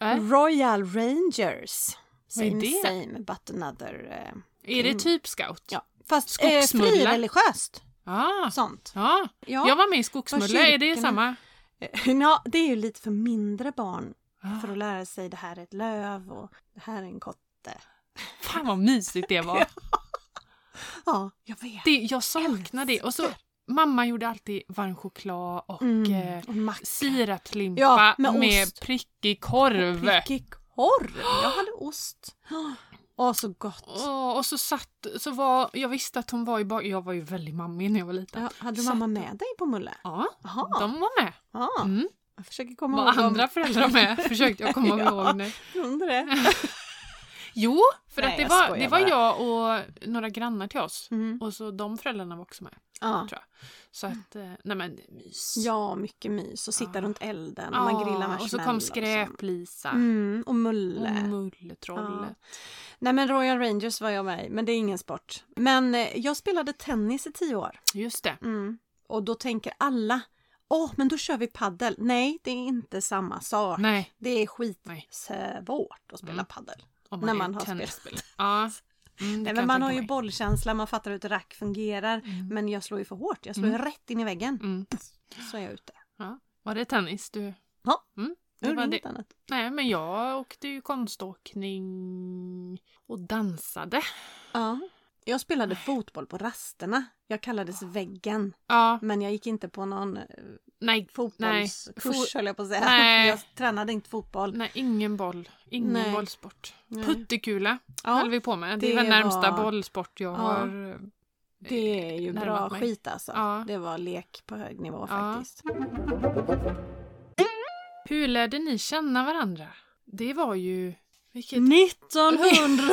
Speaker 1: Äh?
Speaker 2: Royal Rangers.
Speaker 1: Vad är
Speaker 2: Same
Speaker 1: det?
Speaker 2: same but another. Eh,
Speaker 1: Är det typ scout?
Speaker 2: ja. Fast eh,
Speaker 1: Skogsmulla.
Speaker 2: frireligiöst.
Speaker 1: Ah,
Speaker 2: Sånt.
Speaker 1: ja.
Speaker 2: Ja.
Speaker 1: Jag var med i Skogsmulle,
Speaker 2: Vad
Speaker 1: är det
Speaker 2: kyrkorna-
Speaker 1: samma?
Speaker 2: ja, det är ju lite för mindre barn.
Speaker 1: Ah,
Speaker 2: För att lära sig det här är ett löv och det här är en kotte.
Speaker 1: Fan vad mysigt det var.
Speaker 2: Ja, jag vet.
Speaker 1: Det, jag saknar det. Och så, mamma gjorde alltid varm choklad och eh,
Speaker 2: Mm. Och mack.
Speaker 1: sirapslimpa
Speaker 2: Ja, med
Speaker 1: med,
Speaker 2: ost.
Speaker 1: prickig korv. Ah.
Speaker 2: Prickig korv. Jag hade ost. Åh, så gott.
Speaker 1: Åh, och så satt, så var, jag visste att hon var i bak... Jag var ju väldigt mammig när jag var liten.
Speaker 2: Ja, hade
Speaker 1: Satt-
Speaker 2: mamma med dig på Mulle?
Speaker 1: Ja,
Speaker 2: Jaha.
Speaker 1: de var med.
Speaker 2: Ja.
Speaker 1: Mm.
Speaker 2: Jag försöker komma
Speaker 1: Var
Speaker 2: ihåg om-
Speaker 1: andra föräldrar med? Försökte jag komma
Speaker 2: Ja.
Speaker 1: ihåg nu.
Speaker 2: Jag undrar det.
Speaker 1: Jo, för
Speaker 2: Nej,
Speaker 1: att det
Speaker 2: jag
Speaker 1: var,
Speaker 2: skojar
Speaker 1: det var
Speaker 2: bara.
Speaker 1: jag och några grannar till oss.
Speaker 2: Mm.
Speaker 1: Och så de föräldrarna var också med.
Speaker 2: Ja.
Speaker 1: Tror jag. Så att, eh, nej men det är mys.
Speaker 2: ja, mycket mys. Och sitta
Speaker 1: Ja.
Speaker 2: runt elden och
Speaker 1: Ja,
Speaker 2: man grillar marshmallows.
Speaker 1: och så kom
Speaker 2: sånt.
Speaker 1: Skräplisa.
Speaker 2: Mm, och
Speaker 1: Och
Speaker 2: Mulle.
Speaker 1: Mulletrollet.
Speaker 2: Nej men Royal Rangers var jag med i, men det är ingen sport. Men eh, jag spelade tennis i tio år.
Speaker 1: Just det.
Speaker 2: Mm. Och då tänker alla, åh men då kör vi paddel. Nej, det är inte samma sak.
Speaker 1: Nej,
Speaker 2: Det är
Speaker 1: Nej.
Speaker 2: skitsvårt att spela
Speaker 1: Mm.
Speaker 2: paddel.
Speaker 1: om
Speaker 2: När
Speaker 1: är
Speaker 2: man har
Speaker 1: tennisspelare. Ja. Mm, det
Speaker 2: Nej,
Speaker 1: kan
Speaker 2: men
Speaker 1: jag
Speaker 2: man
Speaker 1: tänka
Speaker 2: har ju
Speaker 1: mig.
Speaker 2: bollkänsla, man fattar hur ett rack fungerar.
Speaker 1: Mm.
Speaker 2: Men jag slår ju för hårt, jag slår ju rätt in i väggen.
Speaker 1: Mm.
Speaker 2: Så är jag ute.
Speaker 1: Var det tennis du?
Speaker 2: Ja.
Speaker 1: Mm,
Speaker 2: Nu
Speaker 1: det
Speaker 2: är det
Speaker 1: var det.
Speaker 2: inget annat.
Speaker 1: Nej, men jag åkte ju konståkning och dansade.
Speaker 2: Ja. Jag spelade fotboll på rasterna. Jag kallades Väggen.
Speaker 1: Ja,
Speaker 2: Men jag gick inte på någon eh,
Speaker 1: Ah. nej,
Speaker 2: fotbollskurs
Speaker 1: Nej. Fo-
Speaker 2: höll jag på att säga.
Speaker 1: Nej.
Speaker 2: Jag tränade inte fotboll.
Speaker 1: nej ingen boll. Ingen
Speaker 2: Nej.
Speaker 1: bollsport.
Speaker 2: Nej.
Speaker 1: Puttekula höll vi på med. Det,
Speaker 2: det
Speaker 1: var närmsta
Speaker 2: var-
Speaker 1: bollsport jag
Speaker 2: Ja.
Speaker 1: har. eh,
Speaker 2: Det är ju bra
Speaker 1: närmat mig.
Speaker 2: skit alltså.
Speaker 1: Ja.
Speaker 2: Det var lek på hög nivå faktiskt.
Speaker 1: Hur lärde ni känna varandra? Det var ju... Mm. Vilket...
Speaker 2: 1900!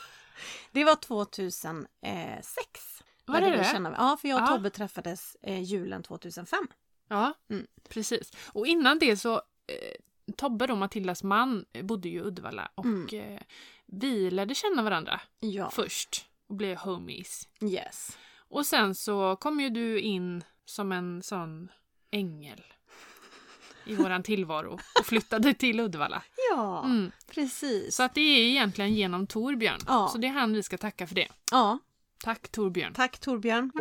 Speaker 2: det var 2006.
Speaker 1: Var det
Speaker 2: lärde vi
Speaker 1: det?
Speaker 2: känna- Ja, för jag och
Speaker 1: Ja.
Speaker 2: Tobbe träffades eh, julen 2005.
Speaker 1: Ja,
Speaker 2: Mm.
Speaker 1: precis. Och innan det så, eh, Tobbe då, Matildas man, eh, bodde ju i Uddevalla och
Speaker 2: Mm.
Speaker 1: eh, vi lärde känna varandra
Speaker 2: Ja,
Speaker 1: först och blev homies.
Speaker 2: yes.
Speaker 1: Och sen så kom ju du in som en sån ängel i våran tillvaro och flyttade till Uddevalla.
Speaker 2: Ja,
Speaker 1: Mm.
Speaker 2: precis.
Speaker 1: Så att det är egentligen genom Torbjörn.
Speaker 2: Ja.
Speaker 1: Så det är han vi ska tacka för det.
Speaker 2: Ja,
Speaker 1: Tack Torbjörn.
Speaker 2: tack Torbjörn.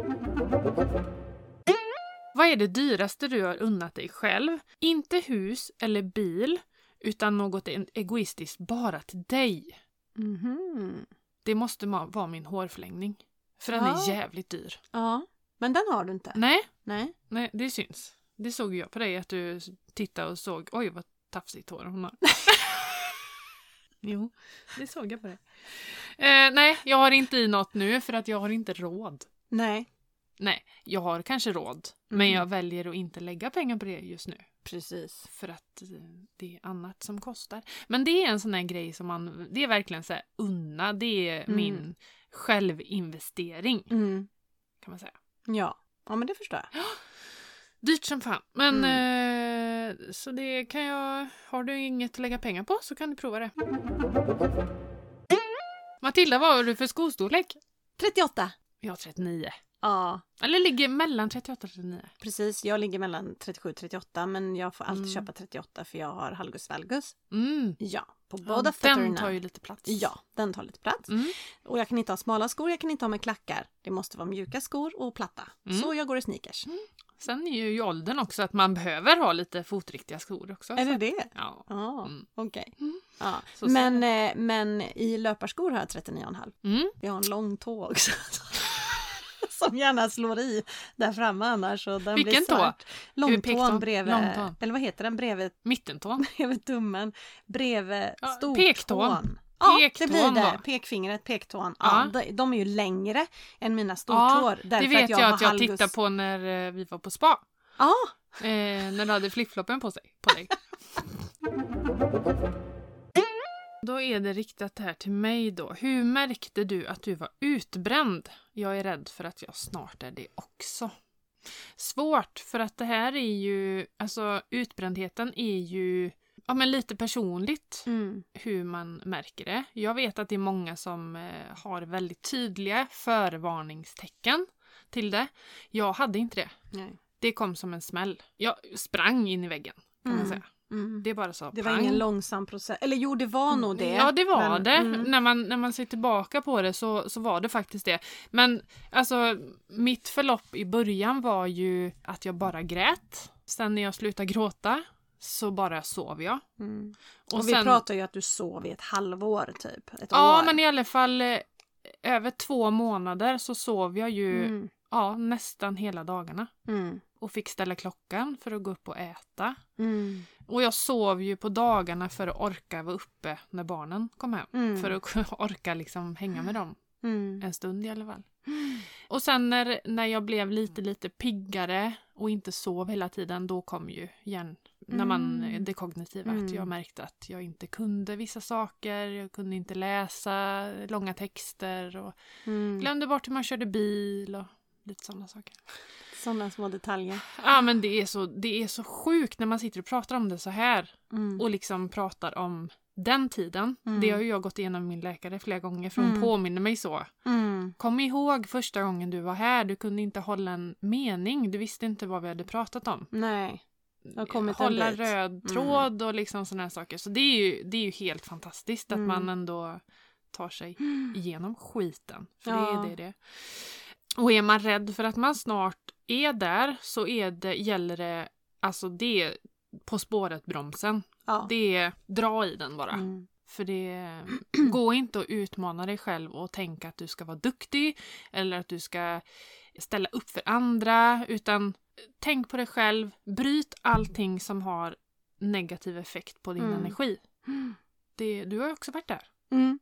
Speaker 1: Vad är det dyraste du har unnat dig själv? Inte hus eller bil, utan något en- egoistiskt bara till dig. Mm-hmm.
Speaker 2: Mhm.
Speaker 1: Det måste ma- vara min hårförlängning. För den
Speaker 2: Ja.
Speaker 1: är jävligt dyr.
Speaker 2: Ja, men den har du inte.
Speaker 1: Nej,
Speaker 2: Nej.
Speaker 1: nej, det syns. Det såg ju jag på dig att du s- tittade och såg. Oj, vad tafsigt hår hon har. jo, det såg jag på dig. Eh, nej, jag har inte i något nu för att jag har inte råd.
Speaker 2: Nej,
Speaker 1: Nej, jag har kanske råd. Men
Speaker 2: Mm.
Speaker 1: jag väljer att inte lägga pengar på det just nu.
Speaker 2: precis.
Speaker 1: För att eh, det är annat som kostar. Men det är en sån här grej som man, det är verkligen så här unna, det är
Speaker 2: Mm.
Speaker 1: min självinvestering
Speaker 2: Mm.
Speaker 1: kan man säga.
Speaker 2: Ja. ja, men det förstår jag.
Speaker 1: Dyrt som fan. Men
Speaker 2: Mm.
Speaker 1: eh, så det kan jag, har du inget att lägga pengar på så kan du prova det. Matilda, vad har du för skostorlek?
Speaker 2: 38.
Speaker 1: Jag har 39.
Speaker 2: Ja,
Speaker 1: Eller ligger mellan 38 och 39.
Speaker 2: precis. Jag ligger mellan 37 och 38 men jag får alltid
Speaker 1: Mm.
Speaker 2: köpa 38 för jag har halgus valgus.
Speaker 1: Mm.
Speaker 2: Ja, på
Speaker 1: Ja,
Speaker 2: båda fötterna.
Speaker 1: Den tar ju lite plats.
Speaker 2: Ja, den tar lite plats.
Speaker 1: Mm.
Speaker 2: Och jag kan inte ha smala skor, jag kan inte ha med klackar. Det måste vara mjuka skor och platta.
Speaker 1: Mm.
Speaker 2: Så jag går i sneakers.
Speaker 1: Sen är ju i åldern också att man behöver ha lite fotriktiga skor också.
Speaker 2: Är
Speaker 1: så
Speaker 2: det
Speaker 1: att-
Speaker 2: det?
Speaker 1: Ja.
Speaker 2: Ja,
Speaker 1: Mm.
Speaker 2: okej.
Speaker 1: Mm.
Speaker 2: Ja.
Speaker 1: Så ser
Speaker 2: Men, eh, men i löparskor har jag 39,5.
Speaker 1: Mm.
Speaker 2: Jag har en lång tå också. Som gärna slår i där framme annars. Och den
Speaker 1: Vilken
Speaker 2: blir
Speaker 1: tå?
Speaker 2: svart. Långtån
Speaker 1: Pekton?
Speaker 2: bredvid,
Speaker 1: Långtån.
Speaker 2: eller vad heter den, bredvid,
Speaker 1: Mittentån.
Speaker 2: bredvid tummen, bredvid
Speaker 1: Ja,
Speaker 2: stortån.
Speaker 1: pektån.
Speaker 2: Ja,
Speaker 1: Pektån
Speaker 2: det blir det.
Speaker 1: då.
Speaker 2: Pekfingret, pektån. Ja,
Speaker 1: Ja.
Speaker 2: De, de är ju längre än mina stortår.
Speaker 1: det
Speaker 2: därför
Speaker 1: vet
Speaker 2: att
Speaker 1: jag,
Speaker 2: jag, har
Speaker 1: att jag
Speaker 2: halvgus-
Speaker 1: tittade på när eh, vi var på spa.
Speaker 2: Ja,
Speaker 1: Eh, när du hade flipfloppen på, sig, på dig. då är det riktat här till mig då. Hur märkte du att du var utbränd? Jag är rädd för att jag snart är det också. Svårt, för att det här är ju, alltså utbrändheten är ju, ja men lite personligt.
Speaker 2: mm.
Speaker 1: hur man märker det. Jag vet att det är många som eh, har väldigt tydliga förvarningstecken till det. Jag hade inte det.
Speaker 2: Nej.
Speaker 1: Det kom som en smäll. Jag sprang in i väggen kan man
Speaker 2: Mm.
Speaker 1: säga.
Speaker 2: Mm.
Speaker 1: Det bara sa
Speaker 2: Det var
Speaker 1: pang.
Speaker 2: ingen långsam process. Eller jo, det var nog det.
Speaker 1: Mm. Ja, det var
Speaker 2: men-
Speaker 1: det.
Speaker 2: Mm.
Speaker 1: När, man, när man ser tillbaka på det så, så var det faktiskt det. Men alltså, mitt förlopp i början var ju att jag bara grät. Sen när jag slutade gråta så bara sov jag.
Speaker 2: Mm.
Speaker 1: Och
Speaker 2: Och, vi
Speaker 1: sen-
Speaker 2: pratar ju att du sov i ett halvår typ. Ett
Speaker 1: Ja,
Speaker 2: år.
Speaker 1: men i alla fall eh, över två månader så sov jag ju
Speaker 2: Mm.
Speaker 1: ja, nästan hela dagarna.
Speaker 2: Mm.
Speaker 1: Och fick ställa klockan för att gå upp och äta.
Speaker 2: Mm.
Speaker 1: Och jag sov ju på dagarna för att orka vara uppe när barnen kom hem.
Speaker 2: Mm.
Speaker 1: För att kunna orka liksom hänga med dem
Speaker 2: Mm.
Speaker 1: en stund i alla fall. Och sen när, när jag blev lite, lite piggare och inte sov hela tiden, då kom ju hjärn... När man,
Speaker 2: Mm.
Speaker 1: det kognitiva, att
Speaker 2: Mm.
Speaker 1: jag märkte att jag inte kunde vissa saker, jag kunde inte läsa långa texter och
Speaker 2: Mm.
Speaker 1: glömde bort hur man körde bil och lite sådana saker.
Speaker 2: Sådana små detaljer.
Speaker 1: Ja men det är, så, det är så sjukt när man sitter och pratar om det så här
Speaker 2: Mm.
Speaker 1: och liksom pratar om den tiden.
Speaker 2: Mm.
Speaker 1: Det har ju jag gått igenom med min läkare flera gånger för hon
Speaker 2: Mm.
Speaker 1: påminner mig så.
Speaker 2: Mm.
Speaker 1: Kom ihåg första gången du var här, du kunde inte hålla en mening, du visste inte vad vi hade pratat om.
Speaker 2: Nej. har kommit en
Speaker 1: hålla
Speaker 2: bit. Mm.
Speaker 1: röd tråd och liksom sådana här saker. Så det är ju, det är ju helt fantastiskt att
Speaker 2: Mm.
Speaker 1: man ändå tar sig igenom skiten. För
Speaker 2: Ja.
Speaker 1: det är det det är. Och är man rädd för att man snart är där så är det, gäller det, alltså det är På spåret-bromsen.
Speaker 2: Ja.
Speaker 1: Det är dra i den bara.
Speaker 2: Mm.
Speaker 1: För det går inte att utmana dig själv och tänka att du ska vara duktig eller att du ska ställa upp för andra. Utan tänk på dig själv, bryt allting som har negativ effekt på din
Speaker 2: Mm.
Speaker 1: energi. Det, du har ju också varit där.
Speaker 2: Mm.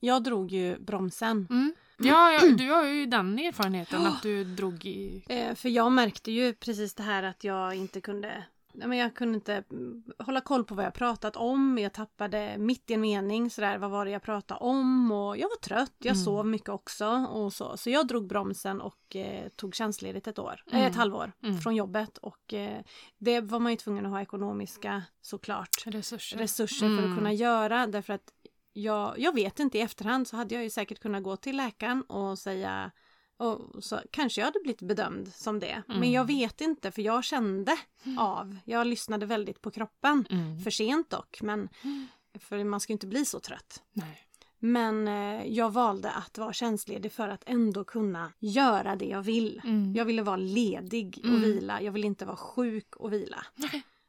Speaker 2: Jag drog ju bromsen.
Speaker 1: Mm. Ja, ja, du har ju den erfarenheten att du drog i...
Speaker 2: Eh, för jag märkte ju precis det här att jag inte kunde Nej, men jag kunde inte mm, hålla koll på vad jag pratat om. Jag tappade mitt i en mening sådär, vad var det jag pratade om? Och jag var trött, jag
Speaker 1: Mm.
Speaker 2: sov mycket också och så. Så jag drog bromsen och eh, tog tjänstledigt ett år, eh,
Speaker 1: Mm.
Speaker 2: ett halvår
Speaker 1: Mm.
Speaker 2: från jobbet. Och eh, det var man ju tvungen att ha ekonomiska såklart
Speaker 1: Resurser.
Speaker 2: resurser för
Speaker 1: Mm.
Speaker 2: att kunna göra därför att jag, jag vet inte i efterhand så hade jag ju säkert kunnat gå till läkaren och säga Och så kanske jag hade blivit bedömd som det.
Speaker 1: Mm.
Speaker 2: Men jag vet inte för jag kände av. Jag lyssnade väldigt på kroppen.
Speaker 1: Mm.
Speaker 2: För sent dock, men
Speaker 1: Mm.
Speaker 2: för man ska ju inte bli så trött.
Speaker 1: Nej.
Speaker 2: Men eh, jag valde att vara tjänstledig för att ändå kunna göra det jag vill.
Speaker 1: Mm.
Speaker 2: Jag ville vara ledig och
Speaker 1: Mm.
Speaker 2: vila. Jag ville inte vara sjuk och vila.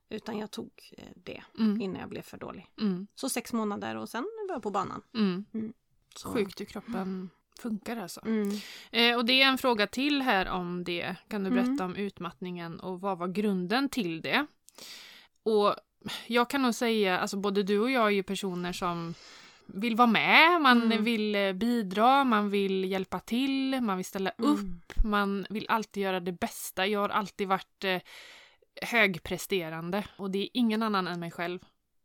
Speaker 2: Utan jag tog eh, det
Speaker 1: Mm.
Speaker 2: innan jag blev för dålig.
Speaker 1: Mm.
Speaker 2: Så sex månader och sen var jag på banan.
Speaker 1: Mm.
Speaker 2: Mm.
Speaker 1: Så Sjukt hur kroppen funkar alltså.
Speaker 2: Mm.
Speaker 1: Eh, och det är en fråga till här om det. Kan du berätta
Speaker 2: Mm.
Speaker 1: om utmattningen och vad var grunden till det? Och jag kan nog säga, alltså både du och jag är ju personer som vill vara med, man
Speaker 2: Mm.
Speaker 1: vill eh, bidra, man vill hjälpa till, man vill ställa upp,
Speaker 2: Mm.
Speaker 1: man vill alltid göra det bästa. Jag har alltid varit eh, högpresterande och det är ingen annan än mig själv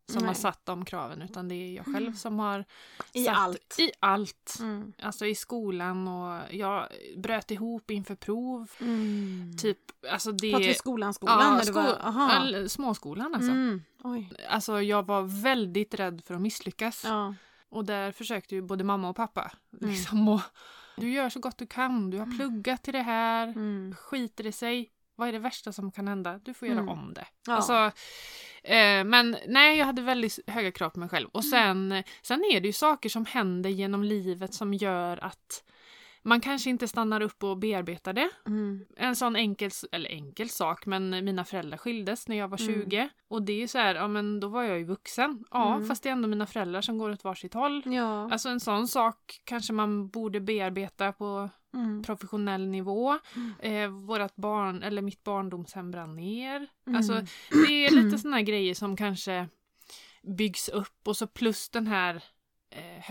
Speaker 1: som har
Speaker 2: Nej.
Speaker 1: satt de kraven utan det är jag själv
Speaker 2: Mm.
Speaker 1: som har
Speaker 2: I
Speaker 1: satt
Speaker 2: allt.
Speaker 1: i allt.
Speaker 2: Mm.
Speaker 1: Alltså i skolan och jag bröt ihop inför prov.
Speaker 2: Mm.
Speaker 1: Typ, alltså det...
Speaker 2: Pratar vi skolan, skolan? när du
Speaker 1: sko-
Speaker 2: var- aha.
Speaker 1: all- småskolan alltså.
Speaker 2: Mm. Oj.
Speaker 1: Alltså jag var väldigt rädd för att misslyckas.
Speaker 2: Ja. Mm.
Speaker 1: Och där försökte ju både mamma och pappa liksom och, Du gör så gott du kan, du har pluggat till det här,
Speaker 2: Mm.
Speaker 1: skiter det sig. Vad är det värsta som kan hända? Du får göra
Speaker 2: Mm.
Speaker 1: om det.
Speaker 2: Ja.
Speaker 1: Alltså, eh, men nej, jag hade väldigt höga krav på mig själv.
Speaker 2: Mm.
Speaker 1: Och sen, sen är det ju saker som händer genom livet som gör att man kanske inte stannar upp och bearbetar det.
Speaker 2: Mm.
Speaker 1: En sån enkel, s- eller enkel sak, men mina föräldrar skildes när jag var
Speaker 2: Mm.
Speaker 1: 20. Och det är ju så här, ja men då var jag ju vuxen. Ja,
Speaker 2: Mm.
Speaker 1: fast det är ändå mina föräldrar som går åt varsitt håll.
Speaker 2: Ja.
Speaker 1: Alltså en sån sak kanske man borde bearbeta på
Speaker 2: Mm.
Speaker 1: professionell nivå.
Speaker 2: Mm.
Speaker 1: Eh, vårat barn, eller mitt barndomshem brann ner.
Speaker 2: Mm.
Speaker 1: Alltså, det är lite såna här grejer som kanske byggs upp och så plus den här eh,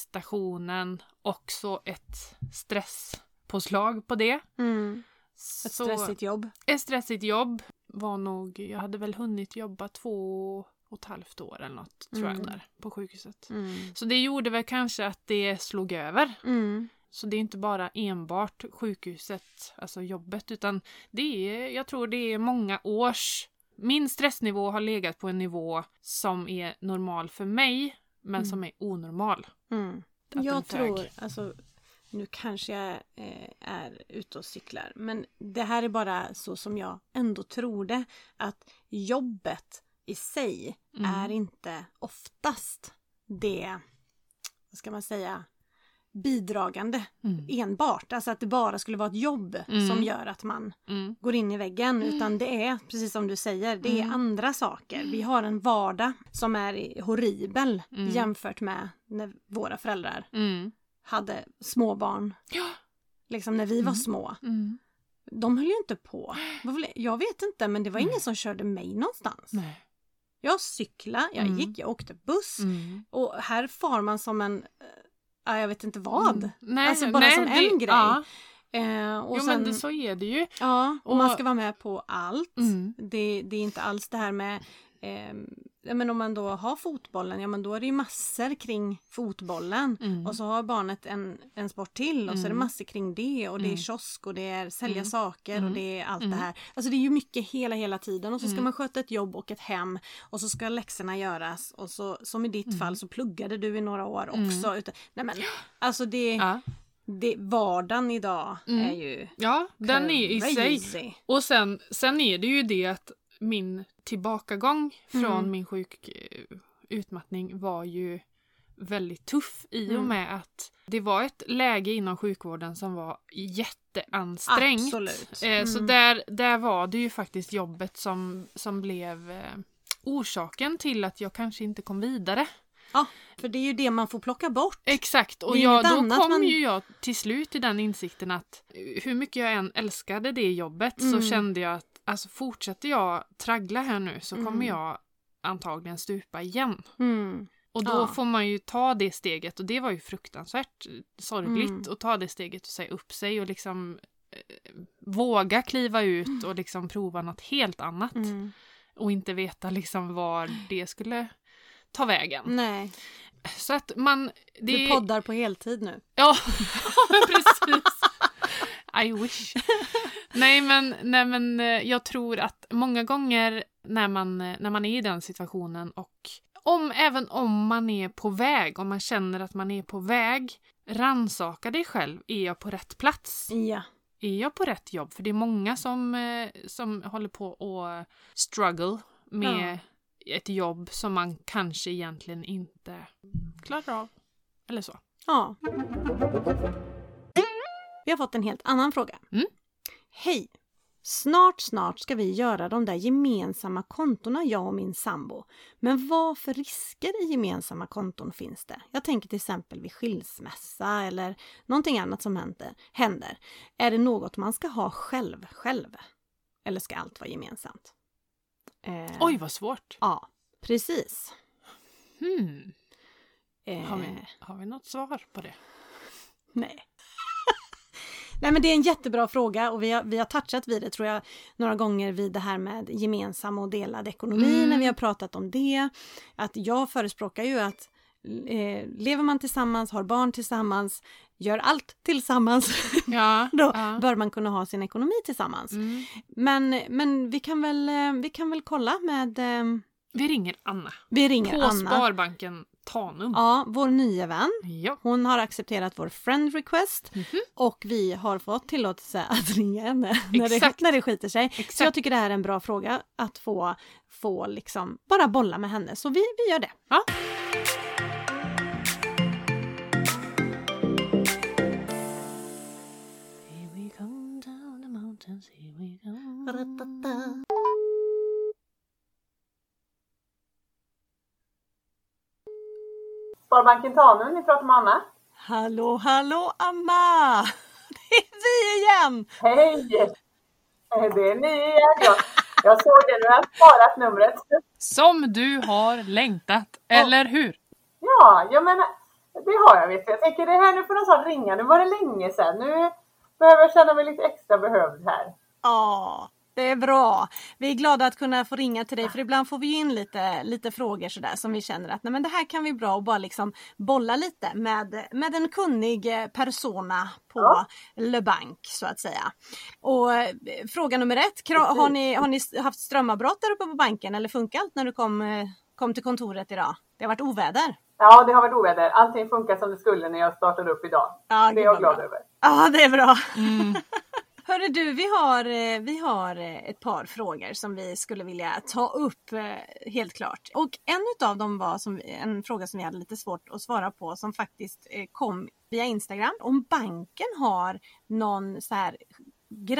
Speaker 1: högprestationen och så ett stresspåslag på det.
Speaker 2: Mm.
Speaker 1: Så,
Speaker 2: Ett stressigt jobb.
Speaker 1: ett stressigt jobb var nog, jag hade väl hunnit jobba två och ett halvt år eller något tror jag
Speaker 2: Mm.
Speaker 1: där på sjukhuset.
Speaker 2: Mm.
Speaker 1: Så det gjorde väl kanske att det slog över.
Speaker 2: Mm.
Speaker 1: Så det är inte bara enbart sjukhuset, alltså jobbet, utan det är, jag tror det är många års... Min stressnivå har legat på en nivå som är normal för mig, men
Speaker 2: Mm.
Speaker 1: som är onormal.
Speaker 2: Mm.
Speaker 1: Att den
Speaker 2: Jag
Speaker 1: sög.
Speaker 2: tror, alltså, nu kanske jag eh, är ute och cyklar, men det här är bara så som jag ändå trodde att jobbet i sig
Speaker 1: Mm.
Speaker 2: är inte oftast det, vad ska man säga, bidragande
Speaker 1: Mm.
Speaker 2: enbart. Alltså att det bara skulle vara ett jobb
Speaker 1: Mm.
Speaker 2: som gör att man
Speaker 1: Mm.
Speaker 2: går in i väggen utan det är precis som du säger, det är
Speaker 1: Mm.
Speaker 2: andra saker. Vi har en vardag som är horribel
Speaker 1: Mm.
Speaker 2: jämfört med när våra föräldrar
Speaker 1: Mm.
Speaker 2: hade småbarn.
Speaker 1: Ja.
Speaker 2: Liksom när vi var
Speaker 1: Mm.
Speaker 2: små.
Speaker 1: Mm.
Speaker 2: De höll ju inte på. Vad var det- Jag vet inte men det var
Speaker 1: Nej.
Speaker 2: ingen som körde mig någonstans.
Speaker 1: Nej.
Speaker 2: Jag cyklade, jag
Speaker 1: Mm.
Speaker 2: gick, jag åkte buss.
Speaker 1: Mm.
Speaker 2: Och här far man som en, eh, ja, jag vet inte vad.
Speaker 1: Mm. Nej,
Speaker 2: Alltså, bara
Speaker 1: nej,
Speaker 2: som en
Speaker 1: det-
Speaker 2: grej.
Speaker 1: Ja.
Speaker 2: Eh, och
Speaker 1: Mm. Jo,
Speaker 2: sen,
Speaker 1: men det, så är det ju.
Speaker 2: ja, och,
Speaker 1: och-
Speaker 2: man ska vara med på allt.
Speaker 1: Mm.
Speaker 2: Det, det är inte alls det här med eh, ja, men om man då har fotbollen, ja men då är det ju massor kring fotbollen.
Speaker 1: Mm.
Speaker 2: Och så har barnet en, en sport till och så är det
Speaker 1: Mm.
Speaker 2: massor kring det och det
Speaker 1: Mm.
Speaker 2: är kiosk och det är sälja
Speaker 1: Mm.
Speaker 2: saker
Speaker 1: Mm.
Speaker 2: och det är allt
Speaker 1: Mm.
Speaker 2: det här. Alltså det är ju mycket hela hela tiden och så ska
Speaker 1: Mm.
Speaker 2: man sköta ett jobb och ett hem och så ska läxorna göras och så som i ditt
Speaker 1: Mm.
Speaker 2: fall så pluggade du i några år
Speaker 1: Mm.
Speaker 2: också. Utan, nej men alltså det,
Speaker 1: Ja,
Speaker 2: det vardagen idag
Speaker 1: Mm.
Speaker 2: är ju
Speaker 1: ja den är i sig
Speaker 2: crazy.
Speaker 1: Och sen, sen är det ju det att min tillbakagång från
Speaker 2: Mm.
Speaker 1: min sjuk eh, utmattning var ju väldigt tuff i och
Speaker 2: Mm.
Speaker 1: med att det var ett läge inom sjukvården som var jätteansträngt.
Speaker 2: Absolut.
Speaker 1: Eh, Så
Speaker 2: Mm.
Speaker 1: där, där var det ju faktiskt jobbet som, som blev eh, orsaken till att jag kanske inte kom vidare.
Speaker 2: Ja, för det är ju det man får plocka bort.
Speaker 1: Exakt, och
Speaker 2: Det är
Speaker 1: jag,
Speaker 2: inget
Speaker 1: då
Speaker 2: annat
Speaker 1: kom
Speaker 2: man-
Speaker 1: ju jag till slut till den insikten att eh, hur mycket jag än älskade det jobbet
Speaker 2: Mm.
Speaker 1: så kände jag att alltså, fortsätter jag traggla här nu så
Speaker 2: Mm.
Speaker 1: kommer jag antagligen stupa igen.
Speaker 2: Mm.
Speaker 1: Och då
Speaker 2: Ja.
Speaker 1: får man ju ta det steget och det var ju fruktansvärt eh, sorgligt
Speaker 2: Mm.
Speaker 1: att ta det steget och säga upp sig och liksom eh, våga kliva ut och liksom prova något helt annat
Speaker 2: Mm.
Speaker 1: och inte veta liksom var det skulle ta vägen.
Speaker 2: Nej,
Speaker 1: Så att man... Det...
Speaker 2: du Mm. poddar på heltid nu.
Speaker 1: Ja, men precis. I wish. Nej men, nej men eh, jag tror att många gånger när man, eh, när man är i den situationen och om, även om man är på väg, om man känner att man är på väg Ransaka dig själv. Är jag på rätt plats?
Speaker 2: Ja.
Speaker 1: Är jag på rätt jobb? För det är många som, eh, som håller på och struggle med ett jobb som man kanske egentligen inte klarar av. Eller så.
Speaker 2: Ja. Vi har fått en helt annan fråga.
Speaker 1: Mm.
Speaker 2: Hej! Snart, snart ska vi göra de där gemensamma kontona jag och min sambo. Men vad för risker i gemensamma konton finns det? Jag tänker till exempel vid skilsmässa eller någonting annat som händer. händer. Är det något man ska ha själv, själv? Eller ska allt vara gemensamt? Eh,
Speaker 1: Oj, vad svårt.
Speaker 2: Ja, precis.
Speaker 1: Hmm. Har,
Speaker 2: Eh,
Speaker 1: vi, har vi något svar på det?
Speaker 2: Nej. Nej men det är en jättebra fråga och vi har, vi har touchat vid det tror jag några gånger vid det här med gemensam och delad ekonomi
Speaker 1: Mm.
Speaker 2: när vi har pratat om det. Att jag förespråkar ju att eh, lever man tillsammans, har barn tillsammans, gör allt tillsammans,
Speaker 1: Ja.
Speaker 2: då
Speaker 1: ja.
Speaker 2: bör man kunna ha sin ekonomi tillsammans.
Speaker 1: Mm.
Speaker 2: Men, men vi, kan väl, eh, vi kan väl kolla med, eh,
Speaker 1: Vi ringer Anna.
Speaker 2: vi ringer
Speaker 1: På
Speaker 2: Anna,
Speaker 1: Sparbanken Tanum.
Speaker 2: ja, vår nya vän.
Speaker 1: Ja.
Speaker 2: Hon har accepterat vår friend request
Speaker 1: Mhm.
Speaker 2: och vi har fått tillåtelse att ringa henne när det,
Speaker 1: Exakt.
Speaker 2: när det skiter sig. Så jag
Speaker 1: Exakt.
Speaker 2: tycker det här är en bra fråga att få, få liksom bara bolla med henne. Så vi, vi gör det.
Speaker 1: Ja. Here we come down the mountains, here we come.
Speaker 3: Sparbanken Tanum, ni pratar med Anna.
Speaker 2: Hallå, hallå Anna! Det är vi igen!
Speaker 3: Hej! Eh, Det är ni igen. Jag, jag såg det nu, jag har sparat numret.
Speaker 1: Som du har längtat, eller hur?
Speaker 3: Ja, jag menar, det har jag vet du. Jag tänker det här nu får någon sån ringa. Nu var det länge sedan. Nu behöver jag känna mig lite extra behövd här.
Speaker 2: Ja, det är bra. Vi är glada att kunna få ringa till dig för ibland får vi in lite, lite frågor sådär som vi känner att nej men det här kan vi bra och bara liksom bolla lite med, med en kunnig eh, persona på
Speaker 3: Ja.
Speaker 2: Le Bank så att säga. Och eh, fråga nummer ett, kra- har ni, har ni s- haft strömavbrott där uppe på banken eller funkar allt när du kom, eh, kom till kontoret idag? Det har varit oväder.
Speaker 3: Ja, det har varit oväder. Allting funkar som det skulle när jag startade upp idag.
Speaker 2: Ja,
Speaker 3: det är
Speaker 2: gud,
Speaker 3: jag
Speaker 2: vad
Speaker 3: glad
Speaker 2: bra.
Speaker 3: över.
Speaker 2: Ja, det är bra.
Speaker 1: Mm.
Speaker 2: Hörru du, vi har, eh, vi har eh, ett par frågor som vi skulle vilja ta upp eh, helt klart. Och en utav dem var som, en fråga som vi hade lite svårt att svara på som faktiskt eh, kom via Instagram. Om banken har någon så här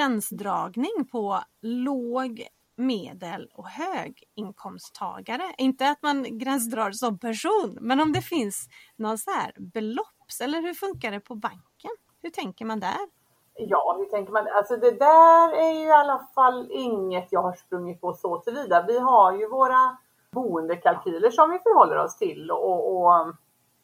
Speaker 2: gränsdragning på låg medel och höginkomsttagare. Inte att man gränsdrar som person, men om det finns någon så här belopps eller hur funkar det på banken? Hur tänker man där?
Speaker 3: Ja, hur tänker man? Alltså det där är ju i alla fall inget jag har sprungit på så tillvida. Vi har ju våra boendekalkyler som vi förhåller oss till och, och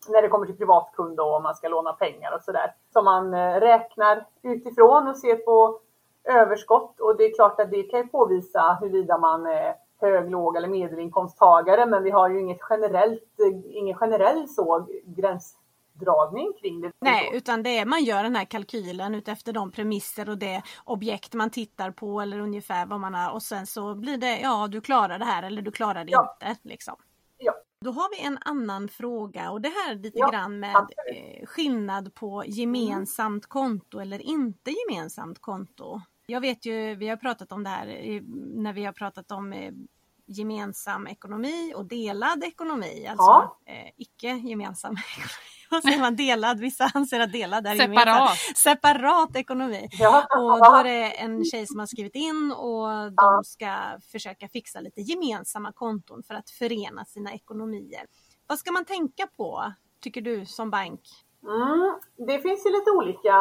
Speaker 3: när det kommer till privatkund och om man ska låna pengar och sådär. Som man eh, räknar utifrån och ser på överskott och det är klart att det kan ju påvisa huruvida man är hög, låg eller medelinkomsttagare. Men vi har ju inget generellt, eh, ingen generell så gränsdragning kring det.
Speaker 2: Nej, utan det är, man gör den här kalkylen utefter de premisser och det objekt man tittar på eller ungefär vad man har och sen så blir det ja du klarar det här eller du klarar det
Speaker 3: Ja.
Speaker 2: inte. Liksom.
Speaker 3: Ja.
Speaker 2: Då har vi en annan fråga och det här är lite
Speaker 3: Ja,
Speaker 2: grann med
Speaker 3: absolut.
Speaker 2: eh, skillnad på gemensamt konto eller inte gemensamt konto. Jag vet ju, vi har pratat om det här eh, när vi har pratat om eh, gemensam ekonomi och delad ekonomi, alltså
Speaker 3: Ja.
Speaker 2: eh, icke gemensam ekonomi. Vad säger man? Delad? Vissa anser att delad är gemensam.
Speaker 1: Separat.
Speaker 2: Separat ekonomi.
Speaker 3: Ja.
Speaker 2: Och då är det en tjej som har skrivit in och de
Speaker 3: Ja.
Speaker 2: ska försöka fixa lite gemensamma konton för att förena sina ekonomier. Vad ska man tänka på, tycker du, som bank?
Speaker 3: Mm, det finns ju lite olika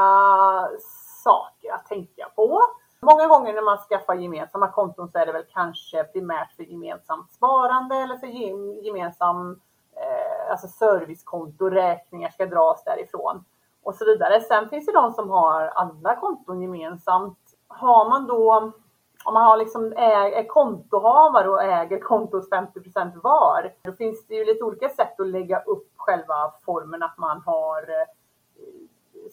Speaker 3: saker att tänka på. Många gånger när man skaffar gemensamma konton så är det väl kanske primärt för gemensamt sparande eller för gem- gemensam eh, alltså servicekonto, räkningar ska dras därifrån och så vidare. Sen finns det de som har alla konton gemensamt. Har man då, om man har liksom är, är kontohavare och äger kontot 50 var, då finns det ju lite olika sätt att lägga upp själva formen att man har eh,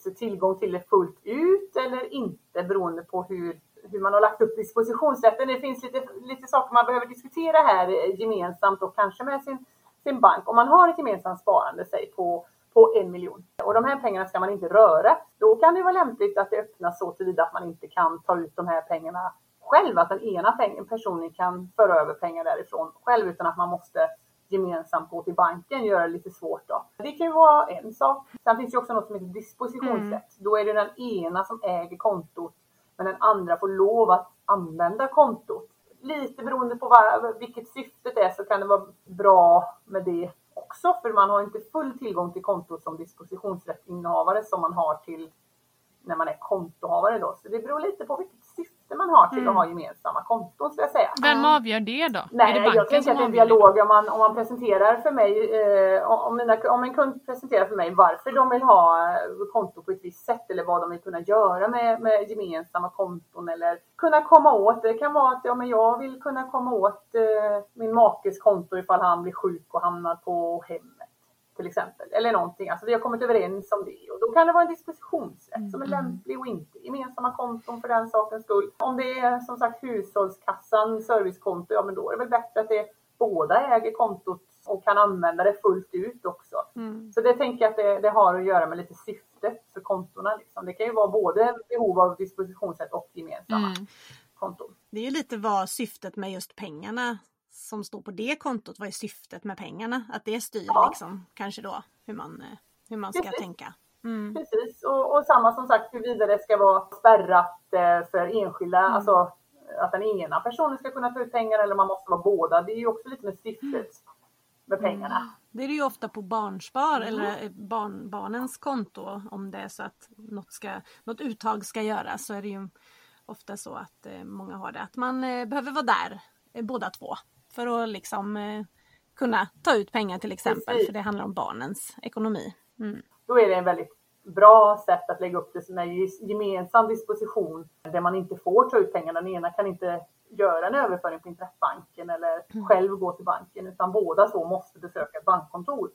Speaker 3: så tillgång till det fullt ut eller inte beroende på hur, hur man har lagt upp dispositionsrätten. Det finns lite, lite saker man behöver diskutera här eh, gemensamt och kanske med sin, sin bank. Om man har ett gemensamt sparande, säg på på en miljon. Och de här pengarna ska man inte röra. Då kan det vara lämpligt att det öppnas så tillvida att man inte kan ta ut de här pengarna själv, att den ena peng- personen kan föra över pengar därifrån själv utan att man måste gemensamt gå till banken göra det lite svårt då. Det kan ju vara en sak. Sen finns det ju också något som heter dispositionsrätt. Då är det den ena som äger kontot men den andra får lov att använda kontot. Lite beroende på vad, vilket syftet är så kan det vara bra med det också för man har inte full tillgång till kontot som dispositionsrättsinnehavare som man har till när man är kontohavare då. Så det beror lite på vilket syfte man har till att ha gemensamma konton skulle jag säga.
Speaker 1: Vem avgör det då?
Speaker 3: Nej,
Speaker 1: är det
Speaker 3: jag
Speaker 1: banken
Speaker 3: tänker
Speaker 1: som
Speaker 3: att det är en
Speaker 1: avgör det?
Speaker 3: dialog om man, om man presenterar för mig, eh, om, mina, om en kund presenterar för mig varför de vill ha eh, konto på ett visst sätt eller vad de vill kunna göra med, med gemensamma konton eller kunna komma åt. Det kan vara att ja, men jag vill kunna komma åt eh, min makes konto ifall han blir sjuk och hamnar på hemmet till exempel. Eller någonting. Alltså vi har kommit överens om det. Och då kan det vara en dispositionsrätt
Speaker 1: Mm,
Speaker 3: som är lämplig och inte gemensamma konton för den sakens skull. Om det är som sagt hushållskassan, servicekonto, ja men då är det väl bättre att det båda äger kontot och kan använda det fullt ut också.
Speaker 2: Mm.
Speaker 3: Så det tänker jag att det, det har att göra med lite syftet för kontona. Liksom. Det kan ju vara både behov av dispositionsrätt och gemensamma
Speaker 1: Mm.
Speaker 3: konton.
Speaker 2: Det är ju lite vad syftet med just pengarna som står på det kontot, vad är syftet med pengarna? Att det styr
Speaker 3: Ja.
Speaker 2: liksom kanske då hur man, eh, hur man ska
Speaker 3: Precis.
Speaker 2: tänka. Mm.
Speaker 3: Precis, och, och samma som sagt huruvida det ska vara spärrat eh, för enskilda, alltså att den ena personen ska kunna ta ut pengar eller man måste vara båda. Det är ju också lite med syftet med pengarna.
Speaker 2: Det är det ju ofta på barnspar eller eh, barn, barnens konto om det är så att något, ska, något uttag ska göras så är det ju ofta så att eh, många har det att man eh, behöver vara där eh, båda två för att liksom eh, kunna ta ut pengar till exempel
Speaker 3: Precis.
Speaker 2: för det handlar om barnens ekonomi. Mm.
Speaker 3: Då är det en väldigt bra sätt att lägga upp det som en gemensam disposition där man inte får ta ut pengar. Den ena kan inte göra en överföring på internetbanken eller själv gå till banken utan båda två måste besöka ett bankkontor.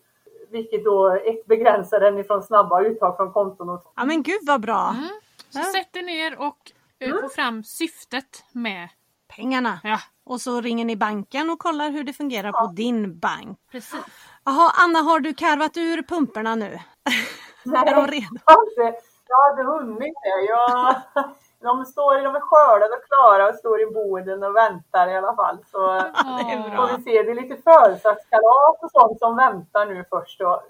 Speaker 3: Vilket då ett begränsar den ifrån snabba uttag från konton och
Speaker 2: Ja men gud vad bra!
Speaker 3: Mm.
Speaker 1: Så sätt dig ner och eh, få fram syftet med...
Speaker 2: Pengarna!
Speaker 1: Ja,
Speaker 2: Och så ringer ni banken och kollar hur det fungerar på din bank.
Speaker 1: precis.
Speaker 2: Jaha Anna, har du karvat ur pumporna nu?
Speaker 3: Nej,
Speaker 2: Är de redo?
Speaker 3: jag har inte- Alltså, jag hade hunnit det. Jag, de, står, de är skördade och klara och står i boden och väntar i alla fall. Så
Speaker 2: det är bra.
Speaker 3: får vi se. Det är lite födelsedagskalas och sånt som väntar nu först. Och,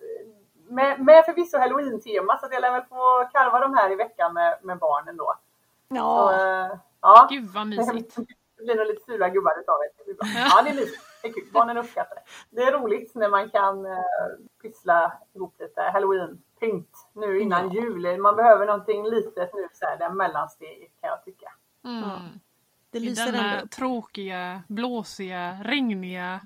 Speaker 3: med, med förvisso halloween-tema så att jag lär väl få karva de här i veckan med, med barnen då. Så,
Speaker 2: Ja,
Speaker 3: eh, ja.
Speaker 1: Gud vad mysigt.
Speaker 3: Det blir nog lite sura gubbar utav det. Det blir bra. Ja, det är mysigt. Det är kul. Barnen uppskattar det. Det är roligt när man kan eh, pyssla ihop lite halloween-pynt nu innan jul. Man behöver någonting litet nu, så här, det här mellansteget kan jag tycka.
Speaker 1: Mm.
Speaker 2: det
Speaker 1: I
Speaker 2: lyser ändå
Speaker 1: denna
Speaker 2: upp.
Speaker 1: tråkiga, blåsiga, regniga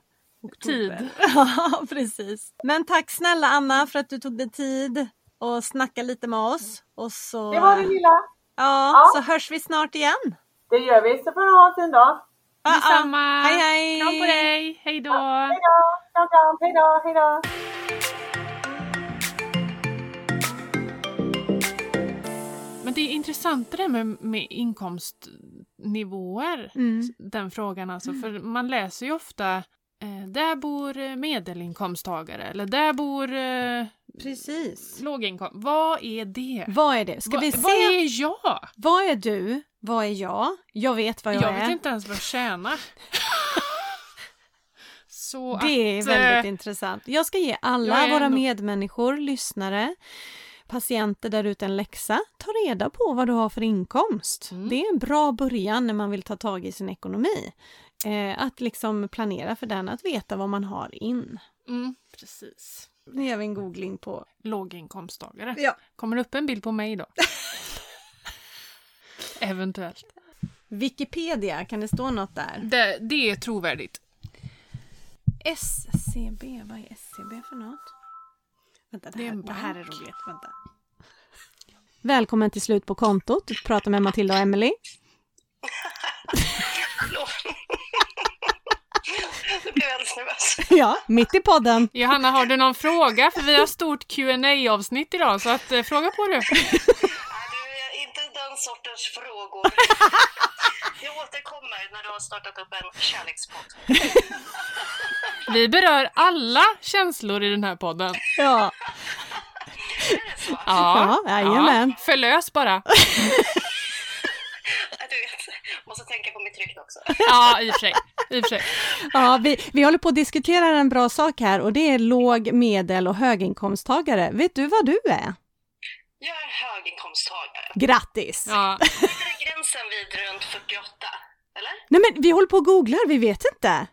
Speaker 1: tid.
Speaker 2: Ja, precis. Men tack snälla Anna för att du tog dig tid och snacka lite med oss. Och så,
Speaker 3: Det var det lilla.
Speaker 2: ja,
Speaker 3: Ja.
Speaker 2: så hörs vi snart igen.
Speaker 3: Det gör vi, så får du ha en fin dag.
Speaker 2: Ja, ja.
Speaker 1: Detsamma!
Speaker 2: Ah, Hej, hej.
Speaker 1: Kram på dig! Hej då!
Speaker 3: Hej då! Kram, kram. Hej då! Hej då!
Speaker 1: Men det är intressant det där med, med inkomstnivåer.
Speaker 2: Mm.
Speaker 1: Den frågan alltså. För man läser ju ofta eh, där bor eh, medelinkomsttagare eller där bor eh,
Speaker 2: Precis.
Speaker 1: låginkomst. Vad är det?
Speaker 2: Vad är det? Ska
Speaker 1: Va-
Speaker 2: vi se?
Speaker 1: Vad är jag?
Speaker 2: Vad är du? Vad är jag? Jag vet vad jag,
Speaker 1: Jag,
Speaker 2: är.
Speaker 1: vet inte ens vad jag tjänar. Så
Speaker 2: Det är
Speaker 1: att,
Speaker 2: väldigt
Speaker 1: eh,
Speaker 2: intressant. Jag ska ge
Speaker 1: jag
Speaker 2: alla
Speaker 1: är
Speaker 2: våra
Speaker 1: ändå-
Speaker 2: medmänniskor, lyssnare, patienter där ute en läxa. Ta reda på vad du har för inkomst.
Speaker 1: Mm.
Speaker 2: Det är en bra början när man vill ta tag i sin ekonomi. Eh, att liksom planera för den, att veta vad man har in.
Speaker 1: mm, precis.
Speaker 2: Nu gör vi en googling på...
Speaker 1: Låginkomsttagare.
Speaker 2: Ja.
Speaker 1: Kommer det upp en bild på mig då? Eventuellt.
Speaker 2: Wikipedia, kan det stå något där?
Speaker 1: Det, det är trovärdigt.
Speaker 2: SCB, vad är SCB för något? Vänta, det
Speaker 1: Det är
Speaker 2: här,
Speaker 1: en
Speaker 2: det här är
Speaker 1: bank.
Speaker 2: roligt. Vänta. Välkommen till slut på kontot. Du pratar med Matilda och Emelie.
Speaker 4: Nu blev jag alldeles nervös.
Speaker 2: Ja, mitt i podden.
Speaker 1: Johanna, har du någon fråga? För vi har stort qa avsnitt idag, så att, eh, fråga på du.
Speaker 4: Nej, du är inte den sortens frågor. Jag återkommer när du har startat upp en kärlekspodd.
Speaker 1: Vi berör alla känslor i den här podden.
Speaker 2: Ja.
Speaker 4: Är det så?
Speaker 2: Ja, jajamän.
Speaker 1: Förlös bara.
Speaker 4: Du vet, måste tänka på mitt rykte också.
Speaker 1: Ja, i och för sig. I och för sig.
Speaker 2: Ja, vi, vi håller på att diskutera en bra sak här och det är låg-, medel och höginkomsttagare. Vet du vad du är?
Speaker 4: Jag är höginkomsttagare.
Speaker 2: Grattis!
Speaker 1: Ja.
Speaker 4: Där är gränsen vid runt 48, eller?
Speaker 2: Nej men vi håller på och googlar, vi vet inte.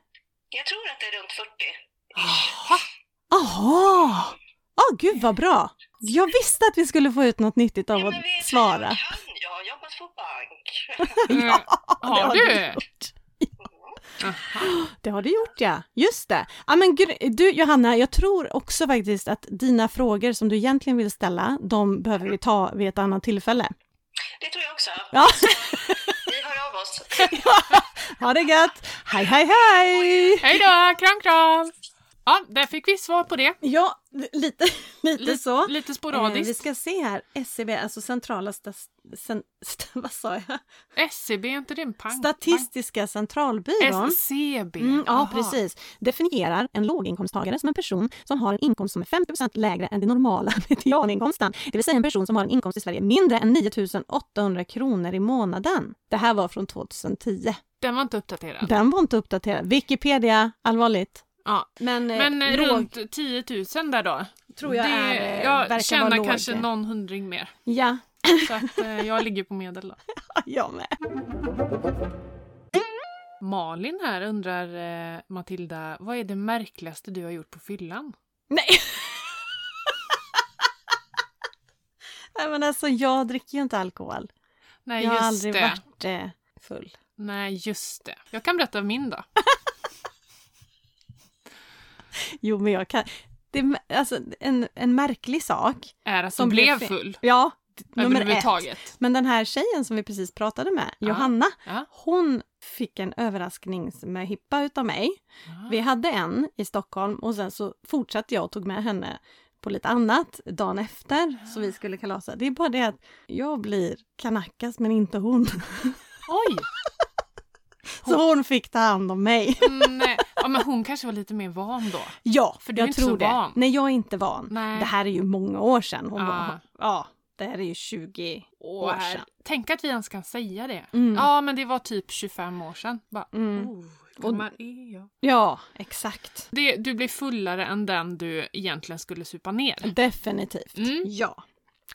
Speaker 4: Jag tror att det är runt 40.
Speaker 2: Jaha! Åh gud vad bra! Jag visste att vi skulle få ut något nyttigt av
Speaker 4: Ja, men
Speaker 2: att
Speaker 4: vet du,
Speaker 2: svara.
Speaker 4: Jag kan, jag har jobbat på bank.
Speaker 1: ja. Eh, Har
Speaker 2: det har
Speaker 1: du? Aha.
Speaker 2: Det har du gjort ja, just det. Ja, men gr- du Johanna, jag tror också faktiskt att dina frågor som du egentligen vill ställa, de behöver vi ta vid ett annat tillfälle.
Speaker 4: Det tror jag också.
Speaker 2: Ja,
Speaker 4: Vi hör av oss.
Speaker 2: ha det gött! Hej, hej, hej!
Speaker 1: Hej då, kram kram! Ja, där fick vi svar på det.
Speaker 2: Ja, lite, lite så.
Speaker 1: Lite
Speaker 2: Eh, vi
Speaker 1: sporadiskt.
Speaker 2: ska se här, SCB, alltså centrala stas, sen, st, vad sa jag?
Speaker 1: SCB, är inte det en pang?
Speaker 2: Statistiska centralbyrån.
Speaker 1: Bank? SCB.
Speaker 2: Mm, ja,
Speaker 1: Aha.
Speaker 2: precis. Definierar en låginkomsttagare som en person som har en inkomst som är 50 lägre än den normala medianinkomsten. Det vill säga en person som har en inkomst i Sverige mindre än 9 800 kronor i månaden. Det här var från 2010.
Speaker 1: Den var inte uppdaterad.
Speaker 2: Den var inte uppdaterad. Wikipedia, allvarligt.
Speaker 1: Ja.
Speaker 2: Men, eh,
Speaker 1: Men eh,
Speaker 2: låg
Speaker 1: runt 10 000 där då.
Speaker 2: tror jag
Speaker 1: det,
Speaker 2: är, eh, verkar
Speaker 1: jag
Speaker 2: vara
Speaker 1: tjänar
Speaker 2: låg.
Speaker 1: kanske någon hundring mer.
Speaker 2: Ja,
Speaker 1: Så att eh, jag ligger på medel då.
Speaker 2: jag med.
Speaker 1: Malin här undrar, eh, Matilda, vad är det märkligaste du har gjort på fyllan?
Speaker 2: Nej. Nej men alltså jag dricker ju inte alkohol.
Speaker 1: Nej,
Speaker 2: Jag har
Speaker 1: just
Speaker 2: aldrig
Speaker 1: det.
Speaker 2: varit eh, full.
Speaker 1: Nej, just det. Jag kan berätta min då.
Speaker 2: Jo, men jag kan... Det är alltså, en, en märklig sak.
Speaker 1: Är att
Speaker 2: Som
Speaker 1: du blev
Speaker 2: blev fe-
Speaker 1: full.
Speaker 2: Ja, d- nummer ett.
Speaker 1: Överhuvudtaget.
Speaker 2: Men den här tjejen som vi precis pratade med, Johanna,
Speaker 1: Ja.
Speaker 2: hon fick en överraskningsmöhippa utav mig.
Speaker 1: Ah.
Speaker 2: Vi hade en i Stockholm och sen så fortsatte jag och tog med henne på lite annat dagen efter
Speaker 1: Ah.
Speaker 2: så vi skulle kalasa. Det är bara det att jag blir kanackas men inte hon.
Speaker 1: Oj!
Speaker 2: Så hon fick ta hand om mig.
Speaker 1: Nej. Ja, men hon kanske var lite mer van då.
Speaker 2: Ja,
Speaker 1: För du är
Speaker 2: jag
Speaker 1: inte
Speaker 2: tror
Speaker 1: så
Speaker 2: det.
Speaker 1: van.
Speaker 2: Nej, jag är inte van.
Speaker 1: Nej. Ah.
Speaker 2: Det här är ju många år sedan. Hon
Speaker 1: Ja.
Speaker 2: var, ja, det här är ju 20 år
Speaker 1: Åh,
Speaker 2: sedan.
Speaker 1: Tänk att vi ens kan säga det.
Speaker 2: Mm.
Speaker 1: Ja, men det var typ 25 år sedan. Bara,
Speaker 2: Mm.
Speaker 1: oh, gammal är jag?
Speaker 2: Ja, exakt.
Speaker 1: Det, du blir fullare än den du egentligen skulle supa ner.
Speaker 2: Definitivt.
Speaker 1: Mm.
Speaker 2: Ja,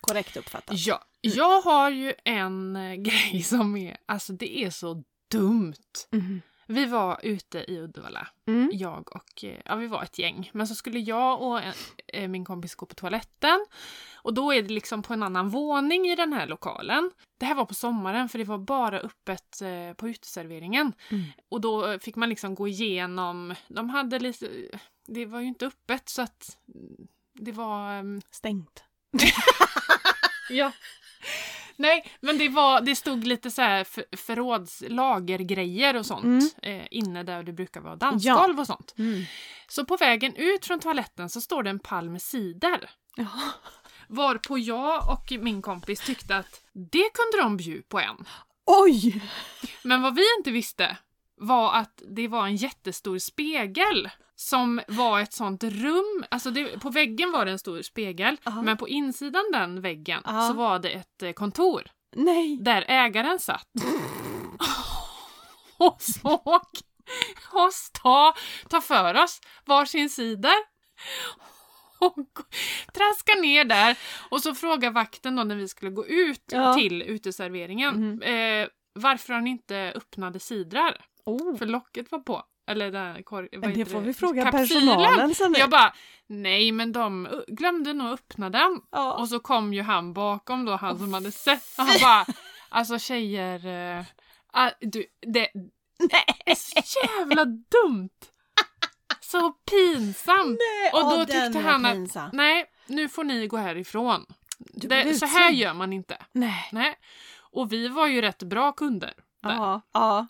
Speaker 2: korrekt uppfattat.
Speaker 1: Ja, jag har ju en eh, grej som är, alltså det är så dumt.
Speaker 2: Mhm.
Speaker 1: Vi var ute i Uddevalla,
Speaker 2: Mm.
Speaker 1: jag och, eh, ja vi var ett gäng. Men så skulle jag och en, eh, min kompis gå på toaletten. Och då är det liksom på en annan våning i den här lokalen. Det här var på sommaren för det var bara öppet eh, på uteserveringen.
Speaker 2: Mm.
Speaker 1: Och då fick man liksom gå igenom, de hade lite, det var ju inte öppet så att mm, det var ehm,
Speaker 2: Stängt.
Speaker 1: Ja. Nej, men det, var, det stod lite så här för, förråds, lagergrejer och sånt
Speaker 2: Mm.
Speaker 1: eh, inne där det brukar vara dansgolv och sånt. Så på vägen ut från toaletten så står det en pall med cider.
Speaker 2: Ja.
Speaker 1: Varpå jag och min kompis tyckte att det kunde de bjuda på en.
Speaker 2: Oj!
Speaker 1: Men vad vi inte visste var att det var en jättestor spegel som var ett sånt rum. Alltså det, på väggen var det en stor spegel,
Speaker 2: Ja.
Speaker 1: men på insidan den väggen
Speaker 2: Ja.
Speaker 1: så var det ett eh, kontor
Speaker 2: Nej!
Speaker 1: där ägaren satt och såg oss ta, ta för oss varsin sida och gå- traska ner där och så frågar vakten då när vi skulle gå ut
Speaker 2: Ja. Mhm.
Speaker 1: till uteserveringen eh, varför han inte öppnade sidrar
Speaker 2: Oh.
Speaker 1: för locket var på. Eller den här korg, vad
Speaker 2: Men det
Speaker 1: heter
Speaker 2: får vi fråga
Speaker 1: Kapsylen.
Speaker 2: personalen sen.
Speaker 1: Jag bara, nej men de ö- glömde nog öppna den.
Speaker 2: ja.
Speaker 1: Och så kom ju han bakom då, han som hade sett. Och han bara, alltså tjejer. eh, ah, du, det är så jävla dumt. Så pinsamt.
Speaker 2: Nej,
Speaker 1: och då
Speaker 2: ja,
Speaker 1: tyckte
Speaker 2: den var
Speaker 1: han att-
Speaker 2: pinsam.
Speaker 1: Nej, nu får ni gå härifrån.
Speaker 2: blev
Speaker 1: Det, så här
Speaker 2: utslängd.
Speaker 1: gör man inte.
Speaker 2: Nej.
Speaker 1: Nej. Och vi var ju rätt bra kunder. Där.
Speaker 2: Ja. ja.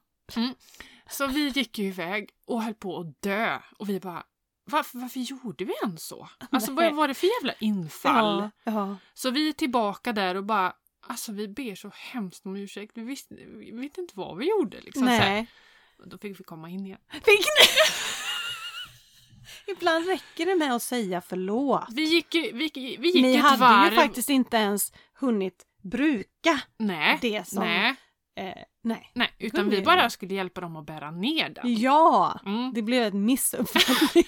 Speaker 1: Så vi gick ju iväg och höll på att dö. Och vi bara, varför, varför gjorde vi ens så? Alltså
Speaker 2: Nej.
Speaker 1: vad var det för jävla infall?
Speaker 2: Ja. ja.
Speaker 1: Så vi är tillbaka där och bara, alltså vi ber så hemskt om ursäkt. Vi visste vi vet inte vad vi gjorde. Liksom, så här.
Speaker 2: Nej.
Speaker 1: Och Då fick vi komma in igen.
Speaker 2: Fick ni? Ibland räcker det med att säga förlåt.
Speaker 1: Vi gick, ju- vi, vi gick
Speaker 2: Ni
Speaker 1: ett
Speaker 2: hade
Speaker 1: varv.
Speaker 2: ju faktiskt inte ens hunnit bruka
Speaker 1: nej,
Speaker 2: det som...
Speaker 1: nej,
Speaker 2: Eh, nej.
Speaker 1: nej, utan
Speaker 2: Kunde
Speaker 1: vi
Speaker 2: ju.
Speaker 1: bara skulle hjälpa dem att bära ner den.
Speaker 2: Ja!
Speaker 1: Mm.
Speaker 2: Det blev en missuppfattning.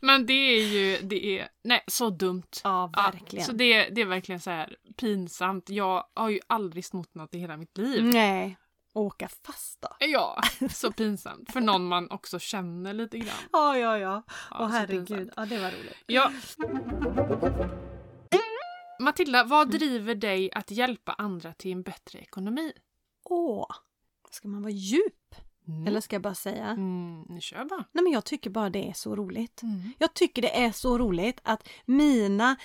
Speaker 1: Men det är ju, det är, nej, så dumt.
Speaker 2: ja,
Speaker 1: Ja,
Speaker 2: verkligen.
Speaker 1: så det, det är verkligen så här pinsamt. Jag har ju aldrig snott något i hela mitt liv.
Speaker 2: Mm. Nej. Åka fast då.
Speaker 1: Ja, så pinsamt. För någon man också känner lite grann.
Speaker 2: Ja, ja, ja.
Speaker 1: Ja,
Speaker 2: Åh
Speaker 1: så
Speaker 2: herregud.
Speaker 1: pinsamt.
Speaker 2: Ja, det var roligt.
Speaker 1: Ja. Matilda, vad driver dig att hjälpa andra till en bättre ekonomi?
Speaker 2: Åh! Ska man vara djup?
Speaker 1: Mm.
Speaker 2: Eller ska jag bara säga?
Speaker 1: Mm, nu kör bara.
Speaker 2: Nej, men jag tycker bara det är så roligt.
Speaker 1: Mm.
Speaker 2: Jag tycker det är så roligt att mina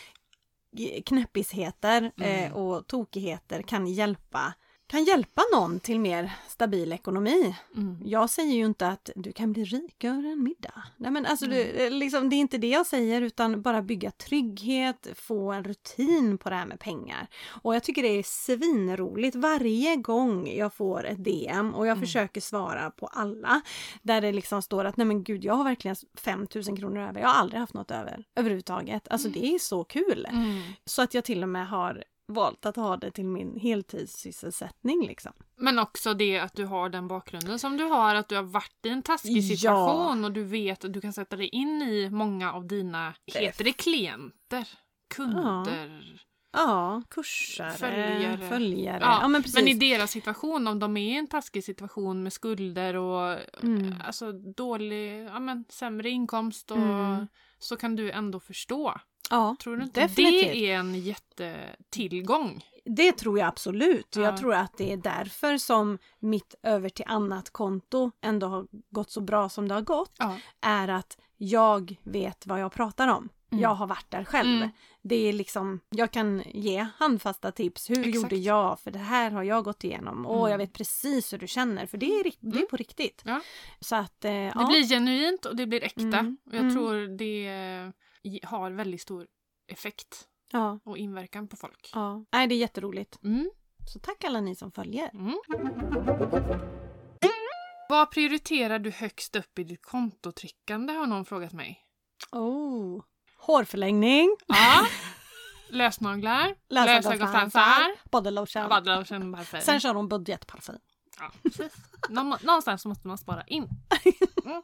Speaker 2: g- knäppisheter eh,
Speaker 1: Mm.
Speaker 2: och tokigheter kan hjälpa, kan hjälpa någon till mer stabil ekonomi.
Speaker 1: Mm.
Speaker 2: Jag säger ju inte att du kan bli rik över en middag. Nej, men alltså, du, eh, liksom, det är inte det jag säger utan bara bygga trygghet, få en rutin på det här med pengar. Och jag tycker det är svinroligt varje gång jag får ett DM och jag försöker svara på alla. Där det liksom står att nej men gud jag har verkligen 5000 kronor över. Jag har aldrig haft något över överhuvudtaget. Alltså det är så kul.
Speaker 1: Mm.
Speaker 2: Så att jag till och med har valt att ha det till min heltidssysselsättning liksom.
Speaker 1: Men också det att du har den bakgrunden som du har, att du har varit i en taskig
Speaker 2: Ja.
Speaker 1: situation och du vet att du kan sätta dig in i många av dina, heter det klienter? Kunder?
Speaker 2: Ja, kursare, följare.
Speaker 1: Följare.
Speaker 2: följare. Ja,
Speaker 1: Ja,
Speaker 2: men precis.
Speaker 1: Men i deras situation, om de är i en taskig situation med skulder och
Speaker 2: Mm.
Speaker 1: alltså, dålig, ja, men, sämre inkomst och,
Speaker 2: Mm.
Speaker 1: så kan du ändå förstå.
Speaker 2: ja,
Speaker 1: Tror du inte
Speaker 2: definitivt.
Speaker 1: det är en jättetillgång?
Speaker 2: Det tror jag absolut.
Speaker 1: Ja.
Speaker 2: Jag tror att det är därför som mitt över till annat konto ändå har gått så bra som det har gått.
Speaker 1: Ja.
Speaker 2: Är att jag vet vad jag pratar om.
Speaker 1: Mm.
Speaker 2: Jag har varit där själv.
Speaker 1: Mm.
Speaker 2: Det är liksom, jag kan ge handfasta tips. Hur
Speaker 1: Exakt.
Speaker 2: gjorde jag? För det här har jag gått igenom. Och
Speaker 1: Mm.
Speaker 2: jag vet precis hur du känner. För det är, ri- det är på riktigt.
Speaker 1: Ja.
Speaker 2: Så att, eh,
Speaker 1: Det blir genuint och det blir äkta.
Speaker 2: Mm.
Speaker 1: Och jag
Speaker 2: Mm.
Speaker 1: tror det eh, har väldigt stor effekt
Speaker 2: ja.
Speaker 1: och inverkan på folk.
Speaker 2: Ja. Nej, det är jätteroligt.
Speaker 1: Mm.
Speaker 2: Så tack alla ni som följer.
Speaker 1: Mm. Vad prioriterar du högst upp i ditt kontotryckande har någon frågat mig.
Speaker 2: Oh. Hårförlängning,
Speaker 1: Ja. Lösnaglar, lösögonfransar,
Speaker 2: bodylotion.
Speaker 1: vaddelotion, parfym.
Speaker 2: Sen kör hon budgetparfym.
Speaker 1: Ja, precis. Nå- Någonstans måste man spara in. Mm.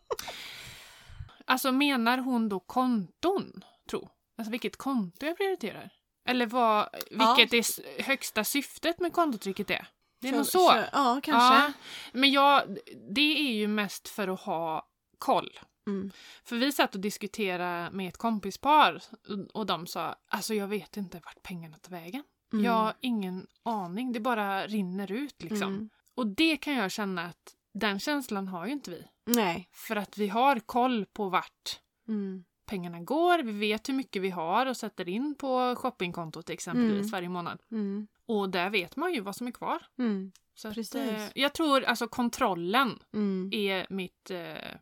Speaker 1: Alltså menar hon då konton, tro? Alltså vilket konto jag prioriterar? Eller vad,
Speaker 2: Ja.
Speaker 1: vilket är s- högsta syftet med kontotrycket är? Det är
Speaker 2: Kör-
Speaker 1: nog så.
Speaker 2: kör- Ja, kanske.
Speaker 1: Ja, men jag, det är ju mest för att ha koll.
Speaker 2: Mm.
Speaker 1: För vi satt och diskuterade med ett kompispar och de sa alltså jag vet inte vart pengarna tar vägen.
Speaker 2: Mm.
Speaker 1: Jag har ingen aning, det bara rinner ut liksom.
Speaker 2: Mm.
Speaker 1: Och det kan jag känna att den känslan har ju inte vi.
Speaker 2: Nej.
Speaker 1: För att vi har koll på vart
Speaker 2: Mm.
Speaker 1: pengarna går, vi vet hur mycket vi har och sätter in på shoppingkontot exempelvis
Speaker 2: Mm.
Speaker 1: varje månad.
Speaker 2: Mm.
Speaker 1: Och där vet man ju vad som är kvar.
Speaker 2: Mm.
Speaker 1: Så att,
Speaker 2: Precis.
Speaker 1: eh, jag tror alltså kontrollen
Speaker 2: Mm.
Speaker 1: är mitt, eh,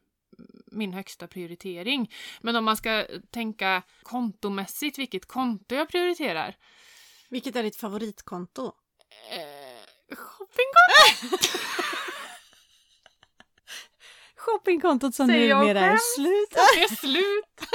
Speaker 1: min högsta prioritering. Men om man ska tänka kontomässigt vilket konto jag prioriterar.
Speaker 2: Vilket är ditt favoritkonto?
Speaker 1: Eh, shoppingkonto
Speaker 2: Shoppingkontot som
Speaker 1: Säger jag
Speaker 2: numera är
Speaker 1: själv?
Speaker 2: slut.
Speaker 1: är slut!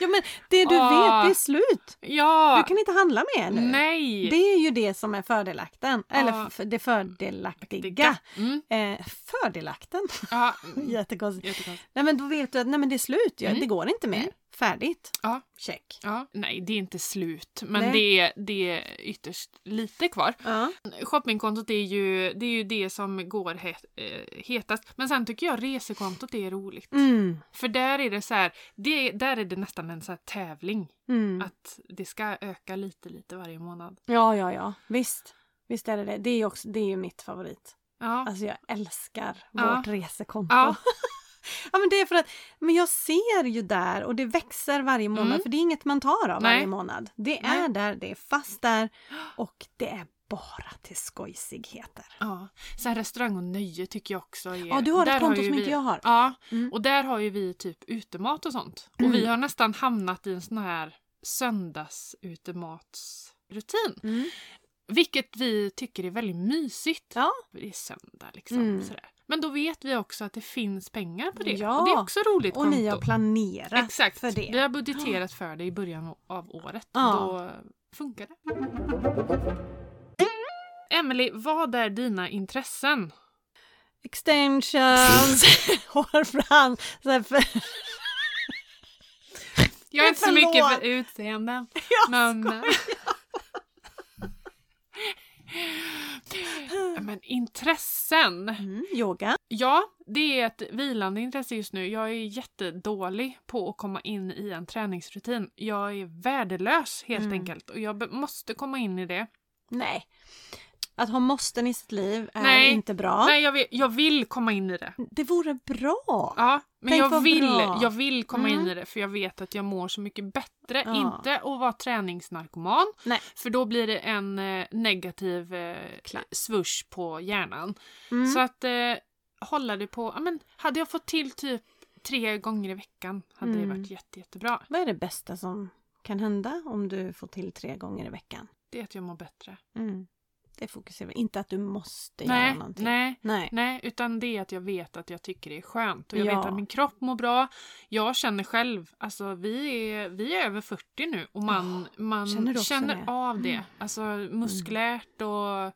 Speaker 2: Ja men det du
Speaker 1: Ah.
Speaker 2: vet det är slut. Du
Speaker 1: Ja!
Speaker 2: kan inte handla mer nu.
Speaker 1: Nej!
Speaker 2: Det är ju det som är fördelakten. Eller
Speaker 1: Ah.
Speaker 2: f- det fördelaktiga.
Speaker 1: Digga. Mm.
Speaker 2: Eh, fördelakten.
Speaker 1: Ja.
Speaker 2: Jättekonstigt.
Speaker 1: Jättekonstigt.
Speaker 2: Nej men då vet du att nej, men det är slut, ja.
Speaker 1: Mm.
Speaker 2: det går inte mer.
Speaker 1: Mm.
Speaker 2: Färdigt.
Speaker 1: Ja.
Speaker 2: Check.
Speaker 1: Ja. Nej, det är inte slut, men
Speaker 2: Nej.
Speaker 1: det är, det är ytterst lite kvar.
Speaker 2: Ja.
Speaker 1: Shoppingkontot är ju det, är ju det som går het, eh, hetast. Men sen tycker jag resekontot är roligt.
Speaker 2: Mm.
Speaker 1: För där är det så här, det, där är det nästan en så här tävling.
Speaker 2: Mm.
Speaker 1: Att det ska öka lite, lite varje månad.
Speaker 2: Ja, ja, ja. Visst. Visst är det det. Det är ju, också, det är ju mitt favorit.
Speaker 1: Ja.
Speaker 2: Alltså jag älskar
Speaker 1: Ja.
Speaker 2: vårt resekonto.
Speaker 1: Ja.
Speaker 2: Ja, men det är för att men jag ser ju där och det växer varje månad
Speaker 1: Mm.
Speaker 2: för det är inget man tar av
Speaker 1: Nej.
Speaker 2: varje månad. Det
Speaker 1: Nej.
Speaker 2: är där, det är fast där och det är bara till skojsigheter.
Speaker 1: ja. Sen restaurang och nöje tycker jag också är...
Speaker 2: Ja, du har ett
Speaker 1: där
Speaker 2: konto
Speaker 1: ju
Speaker 2: som
Speaker 1: vi,
Speaker 2: inte jag har.
Speaker 1: Ja,
Speaker 2: Mm.
Speaker 1: och där har ju vi typ utemat och sånt. Och vi har nästan hamnat i en sån här söndagsutematsrutin.
Speaker 2: Mm.
Speaker 1: Vilket vi tycker är väldigt mysigt.
Speaker 2: Ja.
Speaker 1: Det är söndag liksom.
Speaker 2: Mm.
Speaker 1: Sådär. Men då vet vi också att det finns pengar på det.
Speaker 2: Ja,
Speaker 1: Och det är också roligt
Speaker 2: Och ni har
Speaker 1: konto.
Speaker 2: planerat
Speaker 1: Exakt,
Speaker 2: för
Speaker 1: vi
Speaker 2: det.
Speaker 1: har budgeterat för det i början av året.
Speaker 2: Ja.
Speaker 1: Då funkar det. Emily, vad är dina intressen?
Speaker 2: Extensions, hårfrans, så här för...
Speaker 1: Jag är
Speaker 2: Men
Speaker 1: inte så mycket
Speaker 2: förlåt.
Speaker 1: för utseende.
Speaker 2: Jag
Speaker 1: men... men intressen.
Speaker 2: Mm, yoga.
Speaker 1: Ja, det är ett vilande intresse just nu. Jag är jättedålig på att komma in i en träningsrutin. Jag är värdelös helt
Speaker 2: Mm.
Speaker 1: enkelt och jag be- måste komma in i det.
Speaker 2: Nej. Att ha måsten i sitt liv är
Speaker 1: Nej.
Speaker 2: inte bra.
Speaker 1: Nej, jag vill, jag vill komma in i det.
Speaker 2: Det vore bra.
Speaker 1: Ja, men
Speaker 2: Tänk
Speaker 1: jag
Speaker 2: vad
Speaker 1: vill,
Speaker 2: bra.
Speaker 1: jag vill komma
Speaker 2: Mm.
Speaker 1: in i det för jag vet att jag mår så mycket bättre.
Speaker 2: Ja.
Speaker 1: Inte att vara träningsnarkoman,
Speaker 2: Nej.
Speaker 1: för då blir det en eh, negativ eh,
Speaker 2: Klar.
Speaker 1: swoosh på hjärnan.
Speaker 2: Mm.
Speaker 1: Så att eh, hålla det på, ja, men, hade jag fått till typ tre gånger i veckan hade det
Speaker 2: Mm.
Speaker 1: varit jätte, jättebra.
Speaker 2: Vad är det bästa som kan hända om du får till tre gånger i veckan?
Speaker 1: Det är att jag mår bättre.
Speaker 2: Mm. Det fokuserar vi. Inte att du måste
Speaker 1: Nej,
Speaker 2: göra någonting.
Speaker 1: nej,
Speaker 2: Nej.
Speaker 1: nej, utan det är att jag vet att jag tycker det är skönt och jag
Speaker 2: Ja.
Speaker 1: vet att min kropp mår bra. Jag känner själv, alltså vi är, vi är över 40 nu och man,
Speaker 2: Åh,
Speaker 1: man
Speaker 2: känner du
Speaker 1: känner,
Speaker 2: också det?
Speaker 1: av det.
Speaker 2: Mm.
Speaker 1: Alltså muskulärt och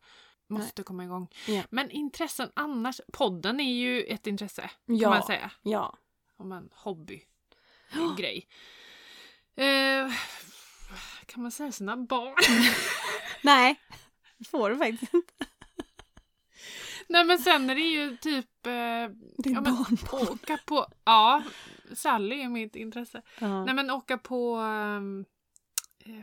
Speaker 1: måste komma igång.
Speaker 2: Ja.
Speaker 1: Men intressen annars, podden är ju ett intresse
Speaker 2: Ja.
Speaker 1: kan man säga.
Speaker 2: Ja.
Speaker 1: Om en hobby, en grej. Eh, kan man säga sina barn?
Speaker 2: Nej. Det får du faktiskt inte.
Speaker 1: Nej men sen är det ju typ eh,
Speaker 2: Det är
Speaker 1: Ja, men-
Speaker 2: barnbarn.
Speaker 1: Åka på... Ja, Sally är mitt intresse.
Speaker 2: Ja.
Speaker 1: Nej men åka på ehm, eh,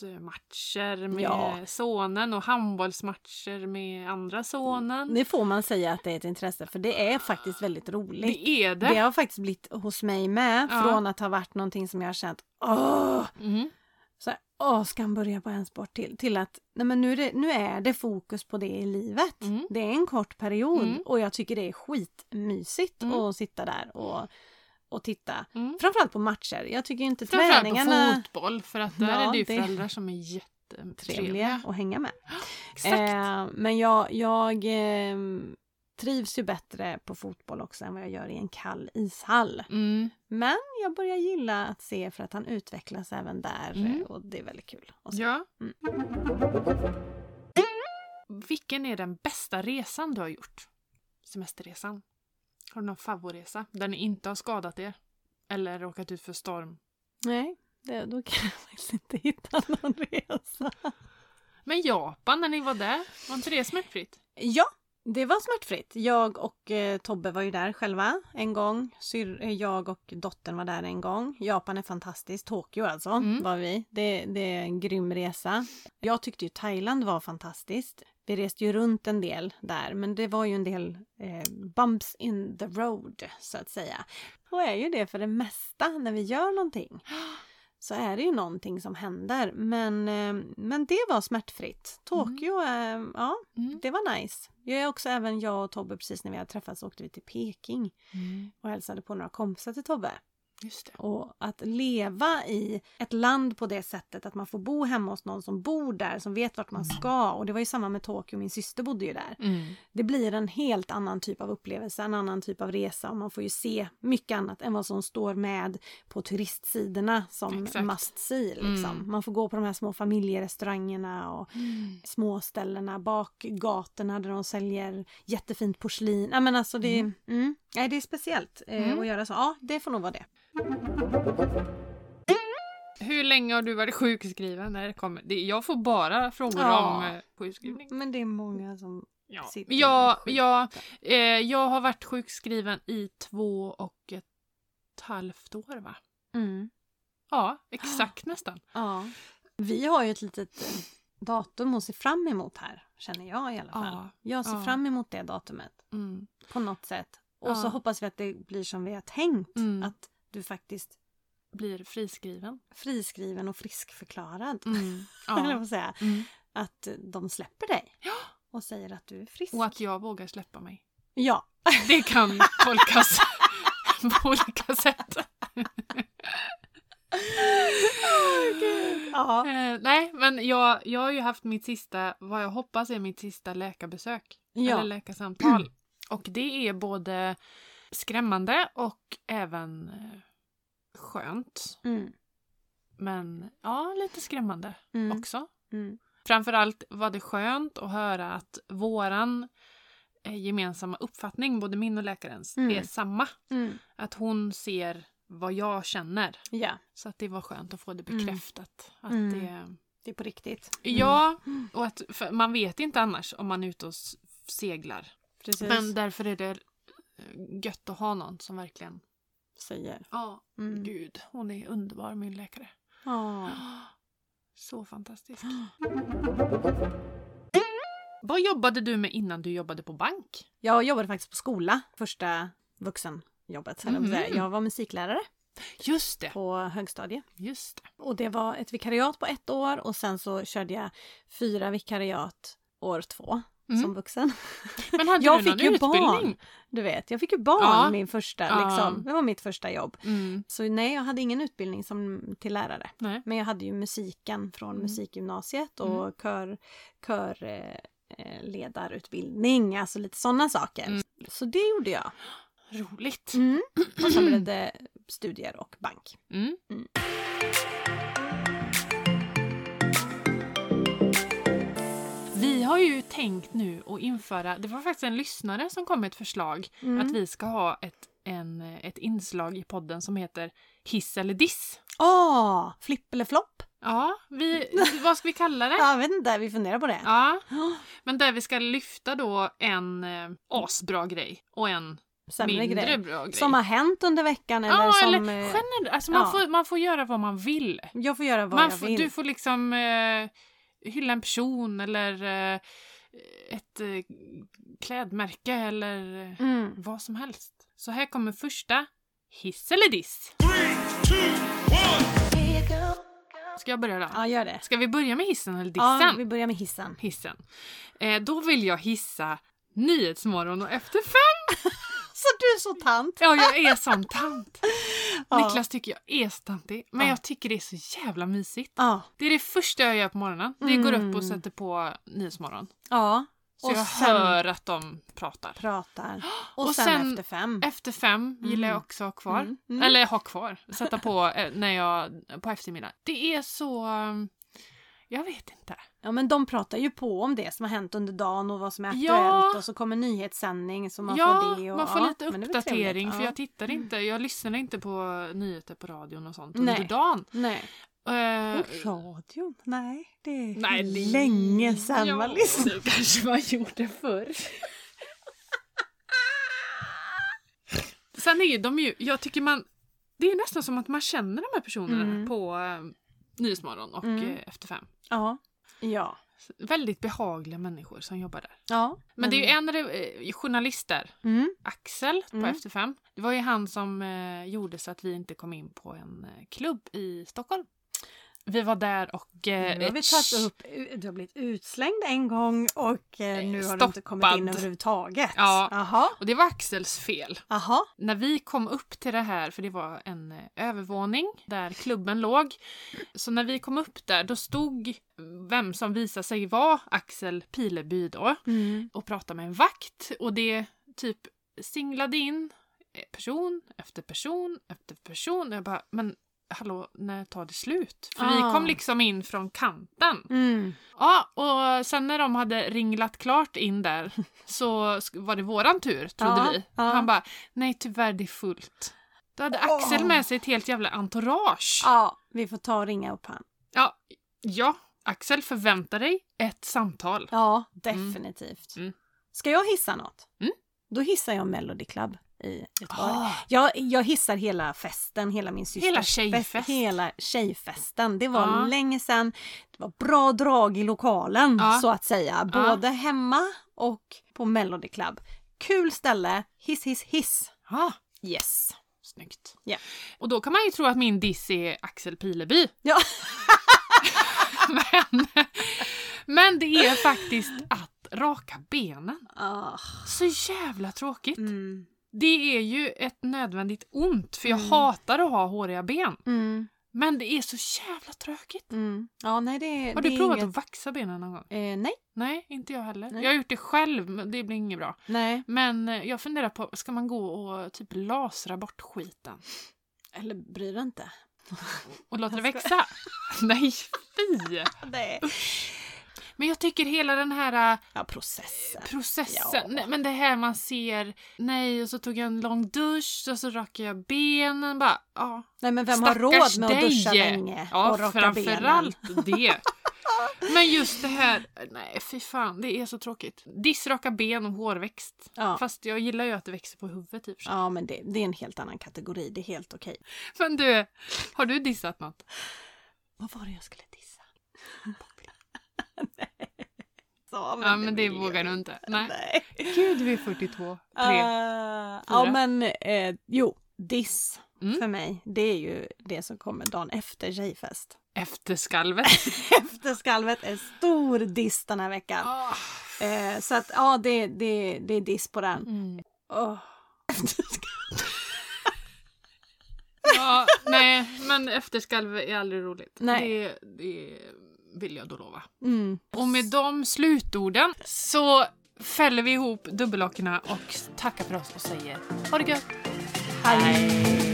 Speaker 1: fotbollsmatcher med
Speaker 2: Ja.
Speaker 1: sonen och handbollsmatcher med andra sonen.
Speaker 2: Det får man säga att det är ett intresse för det är faktiskt väldigt roligt.
Speaker 1: Det är
Speaker 2: Det
Speaker 1: det.
Speaker 2: har faktiskt blivit hos mig med
Speaker 1: Ja.
Speaker 2: från att ha varit någonting som jag har känt åh,
Speaker 1: Mm.
Speaker 2: så här, åh ska han börja på en sport till? Till att nej men nu är det, nu är det fokus på det i livet.
Speaker 1: Mm.
Speaker 2: Det är en kort period
Speaker 1: Mm.
Speaker 2: och jag tycker det är skitmysigt
Speaker 1: Mm.
Speaker 2: att sitta där och, och titta.
Speaker 1: Mm.
Speaker 2: Framförallt på matcher. Jag tycker inte
Speaker 1: Framförallt på
Speaker 2: träningarna
Speaker 1: fotboll för att där
Speaker 2: Ja,
Speaker 1: är det ju
Speaker 2: det-
Speaker 1: föräldrar som är
Speaker 2: trevliga
Speaker 1: jättetrevliga.
Speaker 2: att hänga med.
Speaker 1: Exakt.
Speaker 2: Eh, men jag, jag ehm, trivs ju bättre på fotboll också än vad jag gör i en kall ishall.
Speaker 1: Mm.
Speaker 2: Men jag börjar gilla att se för att han utvecklas även där
Speaker 1: Mm.
Speaker 2: eh, och det är väldigt kul. Och så.
Speaker 1: Ja.
Speaker 2: Mm.
Speaker 1: Vilken är den bästa resan du har gjort? Semesterresan. Har du någon favoritresa där ni inte har skadat er? Eller råkat ut för storm?
Speaker 2: Nej, det, då kan jag faktiskt inte hitta någon resa.
Speaker 1: Men Japan, när ni var där, var inte det smärtfritt?
Speaker 2: Ja, det var smärtfritt. Jag och eh, Tobbe var ju där själva en gång. Syr, eh, jag och dottern var där en gång. Japan är fantastiskt. Tokyo alltså
Speaker 1: Mm.
Speaker 2: var vi. Det, det är en grym resa. Jag tyckte ju Thailand var fantastiskt. Vi reste ju runt en del där men det var ju en del eh, bumps in the road så att säga. Och är ju det för det mesta när vi gör någonting så är det ju någonting som händer. Men, eh, men det var smärtfritt. Tokyo, eh, ja,
Speaker 1: Mm.
Speaker 2: det var nice. Jag är också även jag och Tobbe precis när vi hade träffats åkte vi till Peking och hälsade på några kompisar till Tobbe.
Speaker 1: Just det.
Speaker 2: Och att leva i ett land på det sättet att man får bo hemma hos någon som bor där, som vet vart man ska. Och det var ju samma med Tokyo, min syster bodde ju där.
Speaker 1: Mm.
Speaker 2: Det blir en helt annan typ av upplevelse, en annan typ av resa och man får ju se mycket annat än vad som står med på turistsidorna som
Speaker 1: Exakt.
Speaker 2: must see. Liksom.
Speaker 1: Mm.
Speaker 2: Man får gå på de här små familjerestaurangerna och småställena, bakgatorna där de säljer jättefint porslin. Ja, men alltså det, mm. Nej, det är speciellt eh,
Speaker 1: Mm.
Speaker 2: att göra så. Ja, det får nog vara det.
Speaker 1: Hur länge har du varit sjukskriven? När det kommer? Det, jag får bara frågor
Speaker 2: Ja. Mm.
Speaker 1: om eh, sjukskrivning.
Speaker 2: Men det är många som...
Speaker 1: Ja.
Speaker 2: Sitter
Speaker 1: Jag,
Speaker 2: sjukt.
Speaker 1: jag, eh, jag har varit sjukskriven i två och ett halvt år va?
Speaker 2: Mm.
Speaker 1: Ja, exakt nästan.
Speaker 2: Ja. Vi har ju ett litet eh, datum att se fram emot här, känner jag i alla fall.
Speaker 1: Ja,
Speaker 2: Jag ser
Speaker 1: ja.
Speaker 2: fram emot det datumet
Speaker 1: Mm.
Speaker 2: på något sätt. Och
Speaker 1: Ja.
Speaker 2: så hoppas vi att det blir som vi har tänkt.
Speaker 1: Mm.
Speaker 2: Att du faktiskt
Speaker 1: Blir friskriven.
Speaker 2: friskriven och friskförklarad.
Speaker 1: Mm.
Speaker 2: Eller vad
Speaker 1: Ja.
Speaker 2: man säga.
Speaker 1: Mm.
Speaker 2: Att de släpper dig. Och säger att du är frisk.
Speaker 1: Och att jag vågar släppa mig.
Speaker 2: Ja.
Speaker 1: Det kan tolkas på olika sätt.
Speaker 2: ja.
Speaker 1: Eh, nej, men jag, jag har ju haft mitt sista, vad jag hoppas är mitt sista läkarbesök.
Speaker 2: Ja.
Speaker 1: Eller läkarsamtal. Och det är både skrämmande och även eh, skönt.
Speaker 2: Mm.
Speaker 1: Men ja, lite skrämmande
Speaker 2: Mm.
Speaker 1: också.
Speaker 2: Mm.
Speaker 1: Framförallt var det skönt att höra att våran eh, gemensamma uppfattning, både min och läkarens,
Speaker 2: Mm.
Speaker 1: är samma.
Speaker 2: Mm.
Speaker 1: Att hon ser vad jag känner.
Speaker 2: Ja,
Speaker 1: Så att det var skönt att få det
Speaker 2: Mm.
Speaker 1: bekräftat.
Speaker 2: Mm.
Speaker 1: Att det,
Speaker 2: det är på riktigt. Mm.
Speaker 1: ja, och att för man vet inte annars om man är ute och s- seglar.
Speaker 2: Precis.
Speaker 1: Men därför är det eh, gött att ha någon som verkligen...
Speaker 2: Säger.
Speaker 1: Ja,
Speaker 2: Mm.
Speaker 1: gud, hon är underbar min läkare.
Speaker 2: Ja.
Speaker 1: Så fantastisk. Vad jobbade du med innan du jobbade på bank?
Speaker 2: Jag jobbade faktiskt på skola första vuxenjobbet. Mm.
Speaker 1: Mhm.
Speaker 2: Jag var musiklärare
Speaker 1: Just det,
Speaker 2: på högstadiet.
Speaker 1: just det.
Speaker 2: Och det var ett vikariat på ett år och sen så körde jag fyra vikariat år två
Speaker 1: Mm.
Speaker 2: som vuxen.
Speaker 1: Men hade
Speaker 2: Jag
Speaker 1: du någon
Speaker 2: fick ju barn.
Speaker 1: utbildning?
Speaker 2: Du vet, jag fick ju barn
Speaker 1: Ja.
Speaker 2: min första,
Speaker 1: Ja.
Speaker 2: liksom. det var mitt första jobb.
Speaker 1: Mm.
Speaker 2: Så nej, jag hade ingen utbildning som, till lärare.
Speaker 1: Nej.
Speaker 2: Men jag hade ju musiken från
Speaker 1: Mm.
Speaker 2: musikgymnasiet och kör, kör eh, eh, ledarutbildning, alltså lite sådana saker.
Speaker 1: Mm.
Speaker 2: Så det gjorde jag.
Speaker 1: Roligt.
Speaker 2: Mm. Och sen blev det studier och bank.
Speaker 1: Mm.
Speaker 2: Mm.
Speaker 1: Vi har ju tänkt nu att införa, det var faktiskt en lyssnare som kom med ett förslag
Speaker 2: Mm.
Speaker 1: att vi ska ha ett, en, ett inslag i podden som heter Hiss eller diss.
Speaker 2: Åh! Ah, Flipp eller flopp?
Speaker 1: Ja, vi, vad ska vi kalla det?
Speaker 2: Ja, jag vet inte, vi funderar på det.
Speaker 1: Ja,
Speaker 2: Ja,
Speaker 1: men där vi ska lyfta då en eh, asbra grej och en
Speaker 2: Sämre
Speaker 1: mindre
Speaker 2: grej.
Speaker 1: bra grej.
Speaker 2: Som har hänt under veckan eller
Speaker 1: ja,
Speaker 2: som...
Speaker 1: eller
Speaker 2: eh,
Speaker 1: generellt, alltså man,
Speaker 2: ja.
Speaker 1: får, man får göra vad man vill.
Speaker 2: Jag får göra vad
Speaker 1: Man
Speaker 2: jag
Speaker 1: får,
Speaker 2: vill.
Speaker 1: du får liksom eh, hylla en person eller eh, ett eh, klädmärke eller eh,
Speaker 2: Mm.
Speaker 1: vad som helst. Så här kommer första hiss eller diss. Ska jag börja då?
Speaker 2: Ja, gör det.
Speaker 1: Ska vi börja med hissen eller dissen?
Speaker 2: Ja, vi börjar med hissen.
Speaker 1: Hissen. Eh, då vill jag hissa Nyhetsmorgon och Efter fem.
Speaker 2: Så du är så tant!
Speaker 1: Ja, jag är sån tant.
Speaker 2: Ja.
Speaker 1: Niklas tycker jag är så tantig, men
Speaker 2: Ja.
Speaker 1: jag tycker det är så jävla mysigt.
Speaker 2: Ja.
Speaker 1: Det är det första jag gör på morgonen. Det
Speaker 2: Mm.
Speaker 1: går upp och sätter på Nyhetsmorgon.
Speaker 2: ja.
Speaker 1: Så
Speaker 2: Och
Speaker 1: jag
Speaker 2: sen-
Speaker 1: hör att de pratar.
Speaker 2: Pratar. Och,
Speaker 1: Och
Speaker 2: sen,
Speaker 1: sen-
Speaker 2: efter fem.
Speaker 1: Efter fem gillar jag
Speaker 2: Mm.
Speaker 1: också ha kvar.
Speaker 2: Mm, mm.
Speaker 1: Eller ha kvar. Sätta på eh, när jag, på eftermiddagen. Det är så... eh, Jag vet inte.
Speaker 2: Ja men de pratar ju på om det som har hänt under dagen och vad som är aktuellt
Speaker 1: Ja.
Speaker 2: och så kommer nyhetssändning så man
Speaker 1: ja,
Speaker 2: får det. Och,
Speaker 1: man får
Speaker 2: ja,
Speaker 1: lite
Speaker 2: men det är väl
Speaker 1: uppdatering.
Speaker 2: trevligt,
Speaker 1: För
Speaker 2: ja.
Speaker 1: jag tittar inte, jag lyssnar inte på nyheter på radion och sånt
Speaker 2: Nej.
Speaker 1: under dagen.
Speaker 2: Nej.
Speaker 1: Eh,
Speaker 2: Och radion? Nej, det är
Speaker 1: nej, det-
Speaker 2: länge sedan liksom- man
Speaker 1: Ja,
Speaker 2: lyssnade.
Speaker 1: Det kanske man gjorde förr. Sen är ju de ju, jag tycker man, det är nästan som att man känner de här personerna
Speaker 2: Mm.
Speaker 1: på eh, Nyhetsmorgon och
Speaker 2: Mm.
Speaker 1: eh, Efter fem.
Speaker 2: Ja. Ja.
Speaker 1: Väldigt behagliga människor som jobbar där.
Speaker 2: ja.
Speaker 1: Men det är ju en re- eh, journalist där,
Speaker 2: Mm.
Speaker 1: Axel på
Speaker 2: Mm.
Speaker 1: Efter fem. Det var ju han som eh, gjorde så att vi inte kom in på en eh, klubb i Stockholm. Vi var där och... Eh,
Speaker 2: Nu har vi tagit upp, eh, du har blivit utslängd en gång och eh, nu har du inte kommit
Speaker 1: Stoppad.
Speaker 2: in överhuvudtaget.
Speaker 1: Ja.
Speaker 2: Jaha.
Speaker 1: Och det var Axels fel.
Speaker 2: Jaha.
Speaker 1: När vi kom upp till det här, för det var en eh, övervåning där klubben låg. Så när vi kom upp där då stod vem som visade sig vara Axel Pileby då
Speaker 2: Mm.
Speaker 1: och pratade med en vakt och det typ singlade in eh, person efter person efter person. Jag bara, men hallå, när tar det slut? För vi
Speaker 2: Ah.
Speaker 1: kom liksom in från kanten.
Speaker 2: Mm.
Speaker 1: Ja, och sen när de hade ringlat klart in där så sk- var det våran tur, trodde
Speaker 2: Ja,
Speaker 1: vi.
Speaker 2: ja.
Speaker 1: Han bara, nej tyvärr det är fullt. Då hade Axel
Speaker 2: Åh.
Speaker 1: med sig ett helt jävla entourage. Ja,
Speaker 2: Ja, vi får ta och ringa upp han.
Speaker 1: ja, Axel förväntar dig ett samtal.
Speaker 2: Ja, definitivt.
Speaker 1: Mm.
Speaker 2: Ska jag hissa något?
Speaker 1: Mm. Ah.
Speaker 2: Då hissar jag Melody Club i Göteborg. Jag, jag hissar hela festen, hela min systers
Speaker 1: Hela tjejfest.
Speaker 2: fest- Hela tjejfesten. Det var
Speaker 1: Ja.
Speaker 2: länge sedan. Det var bra drag i lokalen
Speaker 1: Ja.
Speaker 2: så att säga.
Speaker 1: Ja.
Speaker 2: Både hemma och på Melody Club. Kul ställe. Hiss, hiss, hiss.
Speaker 1: Ja,
Speaker 2: Yes.
Speaker 1: snyggt.
Speaker 2: Ja.
Speaker 1: Och då kan man ju tro att min diss är Axel Pileby.
Speaker 2: Ja.
Speaker 1: men, men det är faktiskt att raka benen.
Speaker 2: Ah.
Speaker 1: Så jävla tråkigt.
Speaker 2: Mm.
Speaker 1: Det är ju ett nödvändigt ont för jag hatar att ha håriga ben.
Speaker 2: Mm.
Speaker 1: Men det är så jävla tråkigt.
Speaker 2: Mm. Ja, nej det är...
Speaker 1: Har
Speaker 2: det
Speaker 1: du
Speaker 2: är
Speaker 1: provat
Speaker 2: inget-
Speaker 1: att vaxa benen någon gång?
Speaker 2: Eh, nej.
Speaker 1: Nej, inte jag heller.
Speaker 2: Nej.
Speaker 1: Jag har gjort det själv, men det blir inget bra.
Speaker 2: Nej.
Speaker 1: Men eh, jag funderar på, ska man gå och typ lasra bort skiten?
Speaker 2: Eller bryr dig inte.
Speaker 1: Och låta det växa? Nej, fy!
Speaker 2: Nej.
Speaker 1: Men jag tycker hela den här eh,
Speaker 2: Ja, processen.
Speaker 1: processen.
Speaker 2: Ja.
Speaker 1: Nej, men det här man ser, nej och så tog jag en lång dusch och så rakade jag benen bara. Ja,
Speaker 2: Nej, men vem har råd med att duscha länge och
Speaker 1: Ja,
Speaker 2: raka benen?
Speaker 1: framförallt det. Men just det här, nej fy fan det är så tråkigt. Dissraka ben och hårväxt.
Speaker 2: Ja.
Speaker 1: Fast jag gillar ju att det växer på huvudet i och för sig.
Speaker 2: Ja, men det, det är en helt annan kategori. Det är helt okej.
Speaker 1: Men du, har du dissat något?
Speaker 2: Vad var det jag skulle dissa? Nej. Så,
Speaker 1: Ja men det
Speaker 2: vill
Speaker 1: vågar
Speaker 2: jag
Speaker 1: du inte. Nej.
Speaker 2: Nej.
Speaker 1: Gud vi är 42.
Speaker 2: Eh,
Speaker 1: Tre.
Speaker 2: ja
Speaker 1: fyra.
Speaker 2: men eh, jo, diss
Speaker 1: Mm.
Speaker 2: för mig. Det är ju det som kommer dagen efter tjejfest.
Speaker 1: Efterskalvet.
Speaker 2: Efterskalvet är stor diss den här veckan.
Speaker 1: Ah.
Speaker 2: Eh, så att ja, det, det, det är diss på den.
Speaker 1: Mm.
Speaker 2: Åh. Efterskalv.
Speaker 1: Ja, nej, men efterskalv är aldrig roligt.
Speaker 2: Nej.
Speaker 1: Det, det vill jag då lova.
Speaker 2: Mm.
Speaker 1: Och med de slutorden så fäller vi ihop dubbellackorna och tackar för oss och säger ha det gött!
Speaker 2: Hej.
Speaker 1: Hej.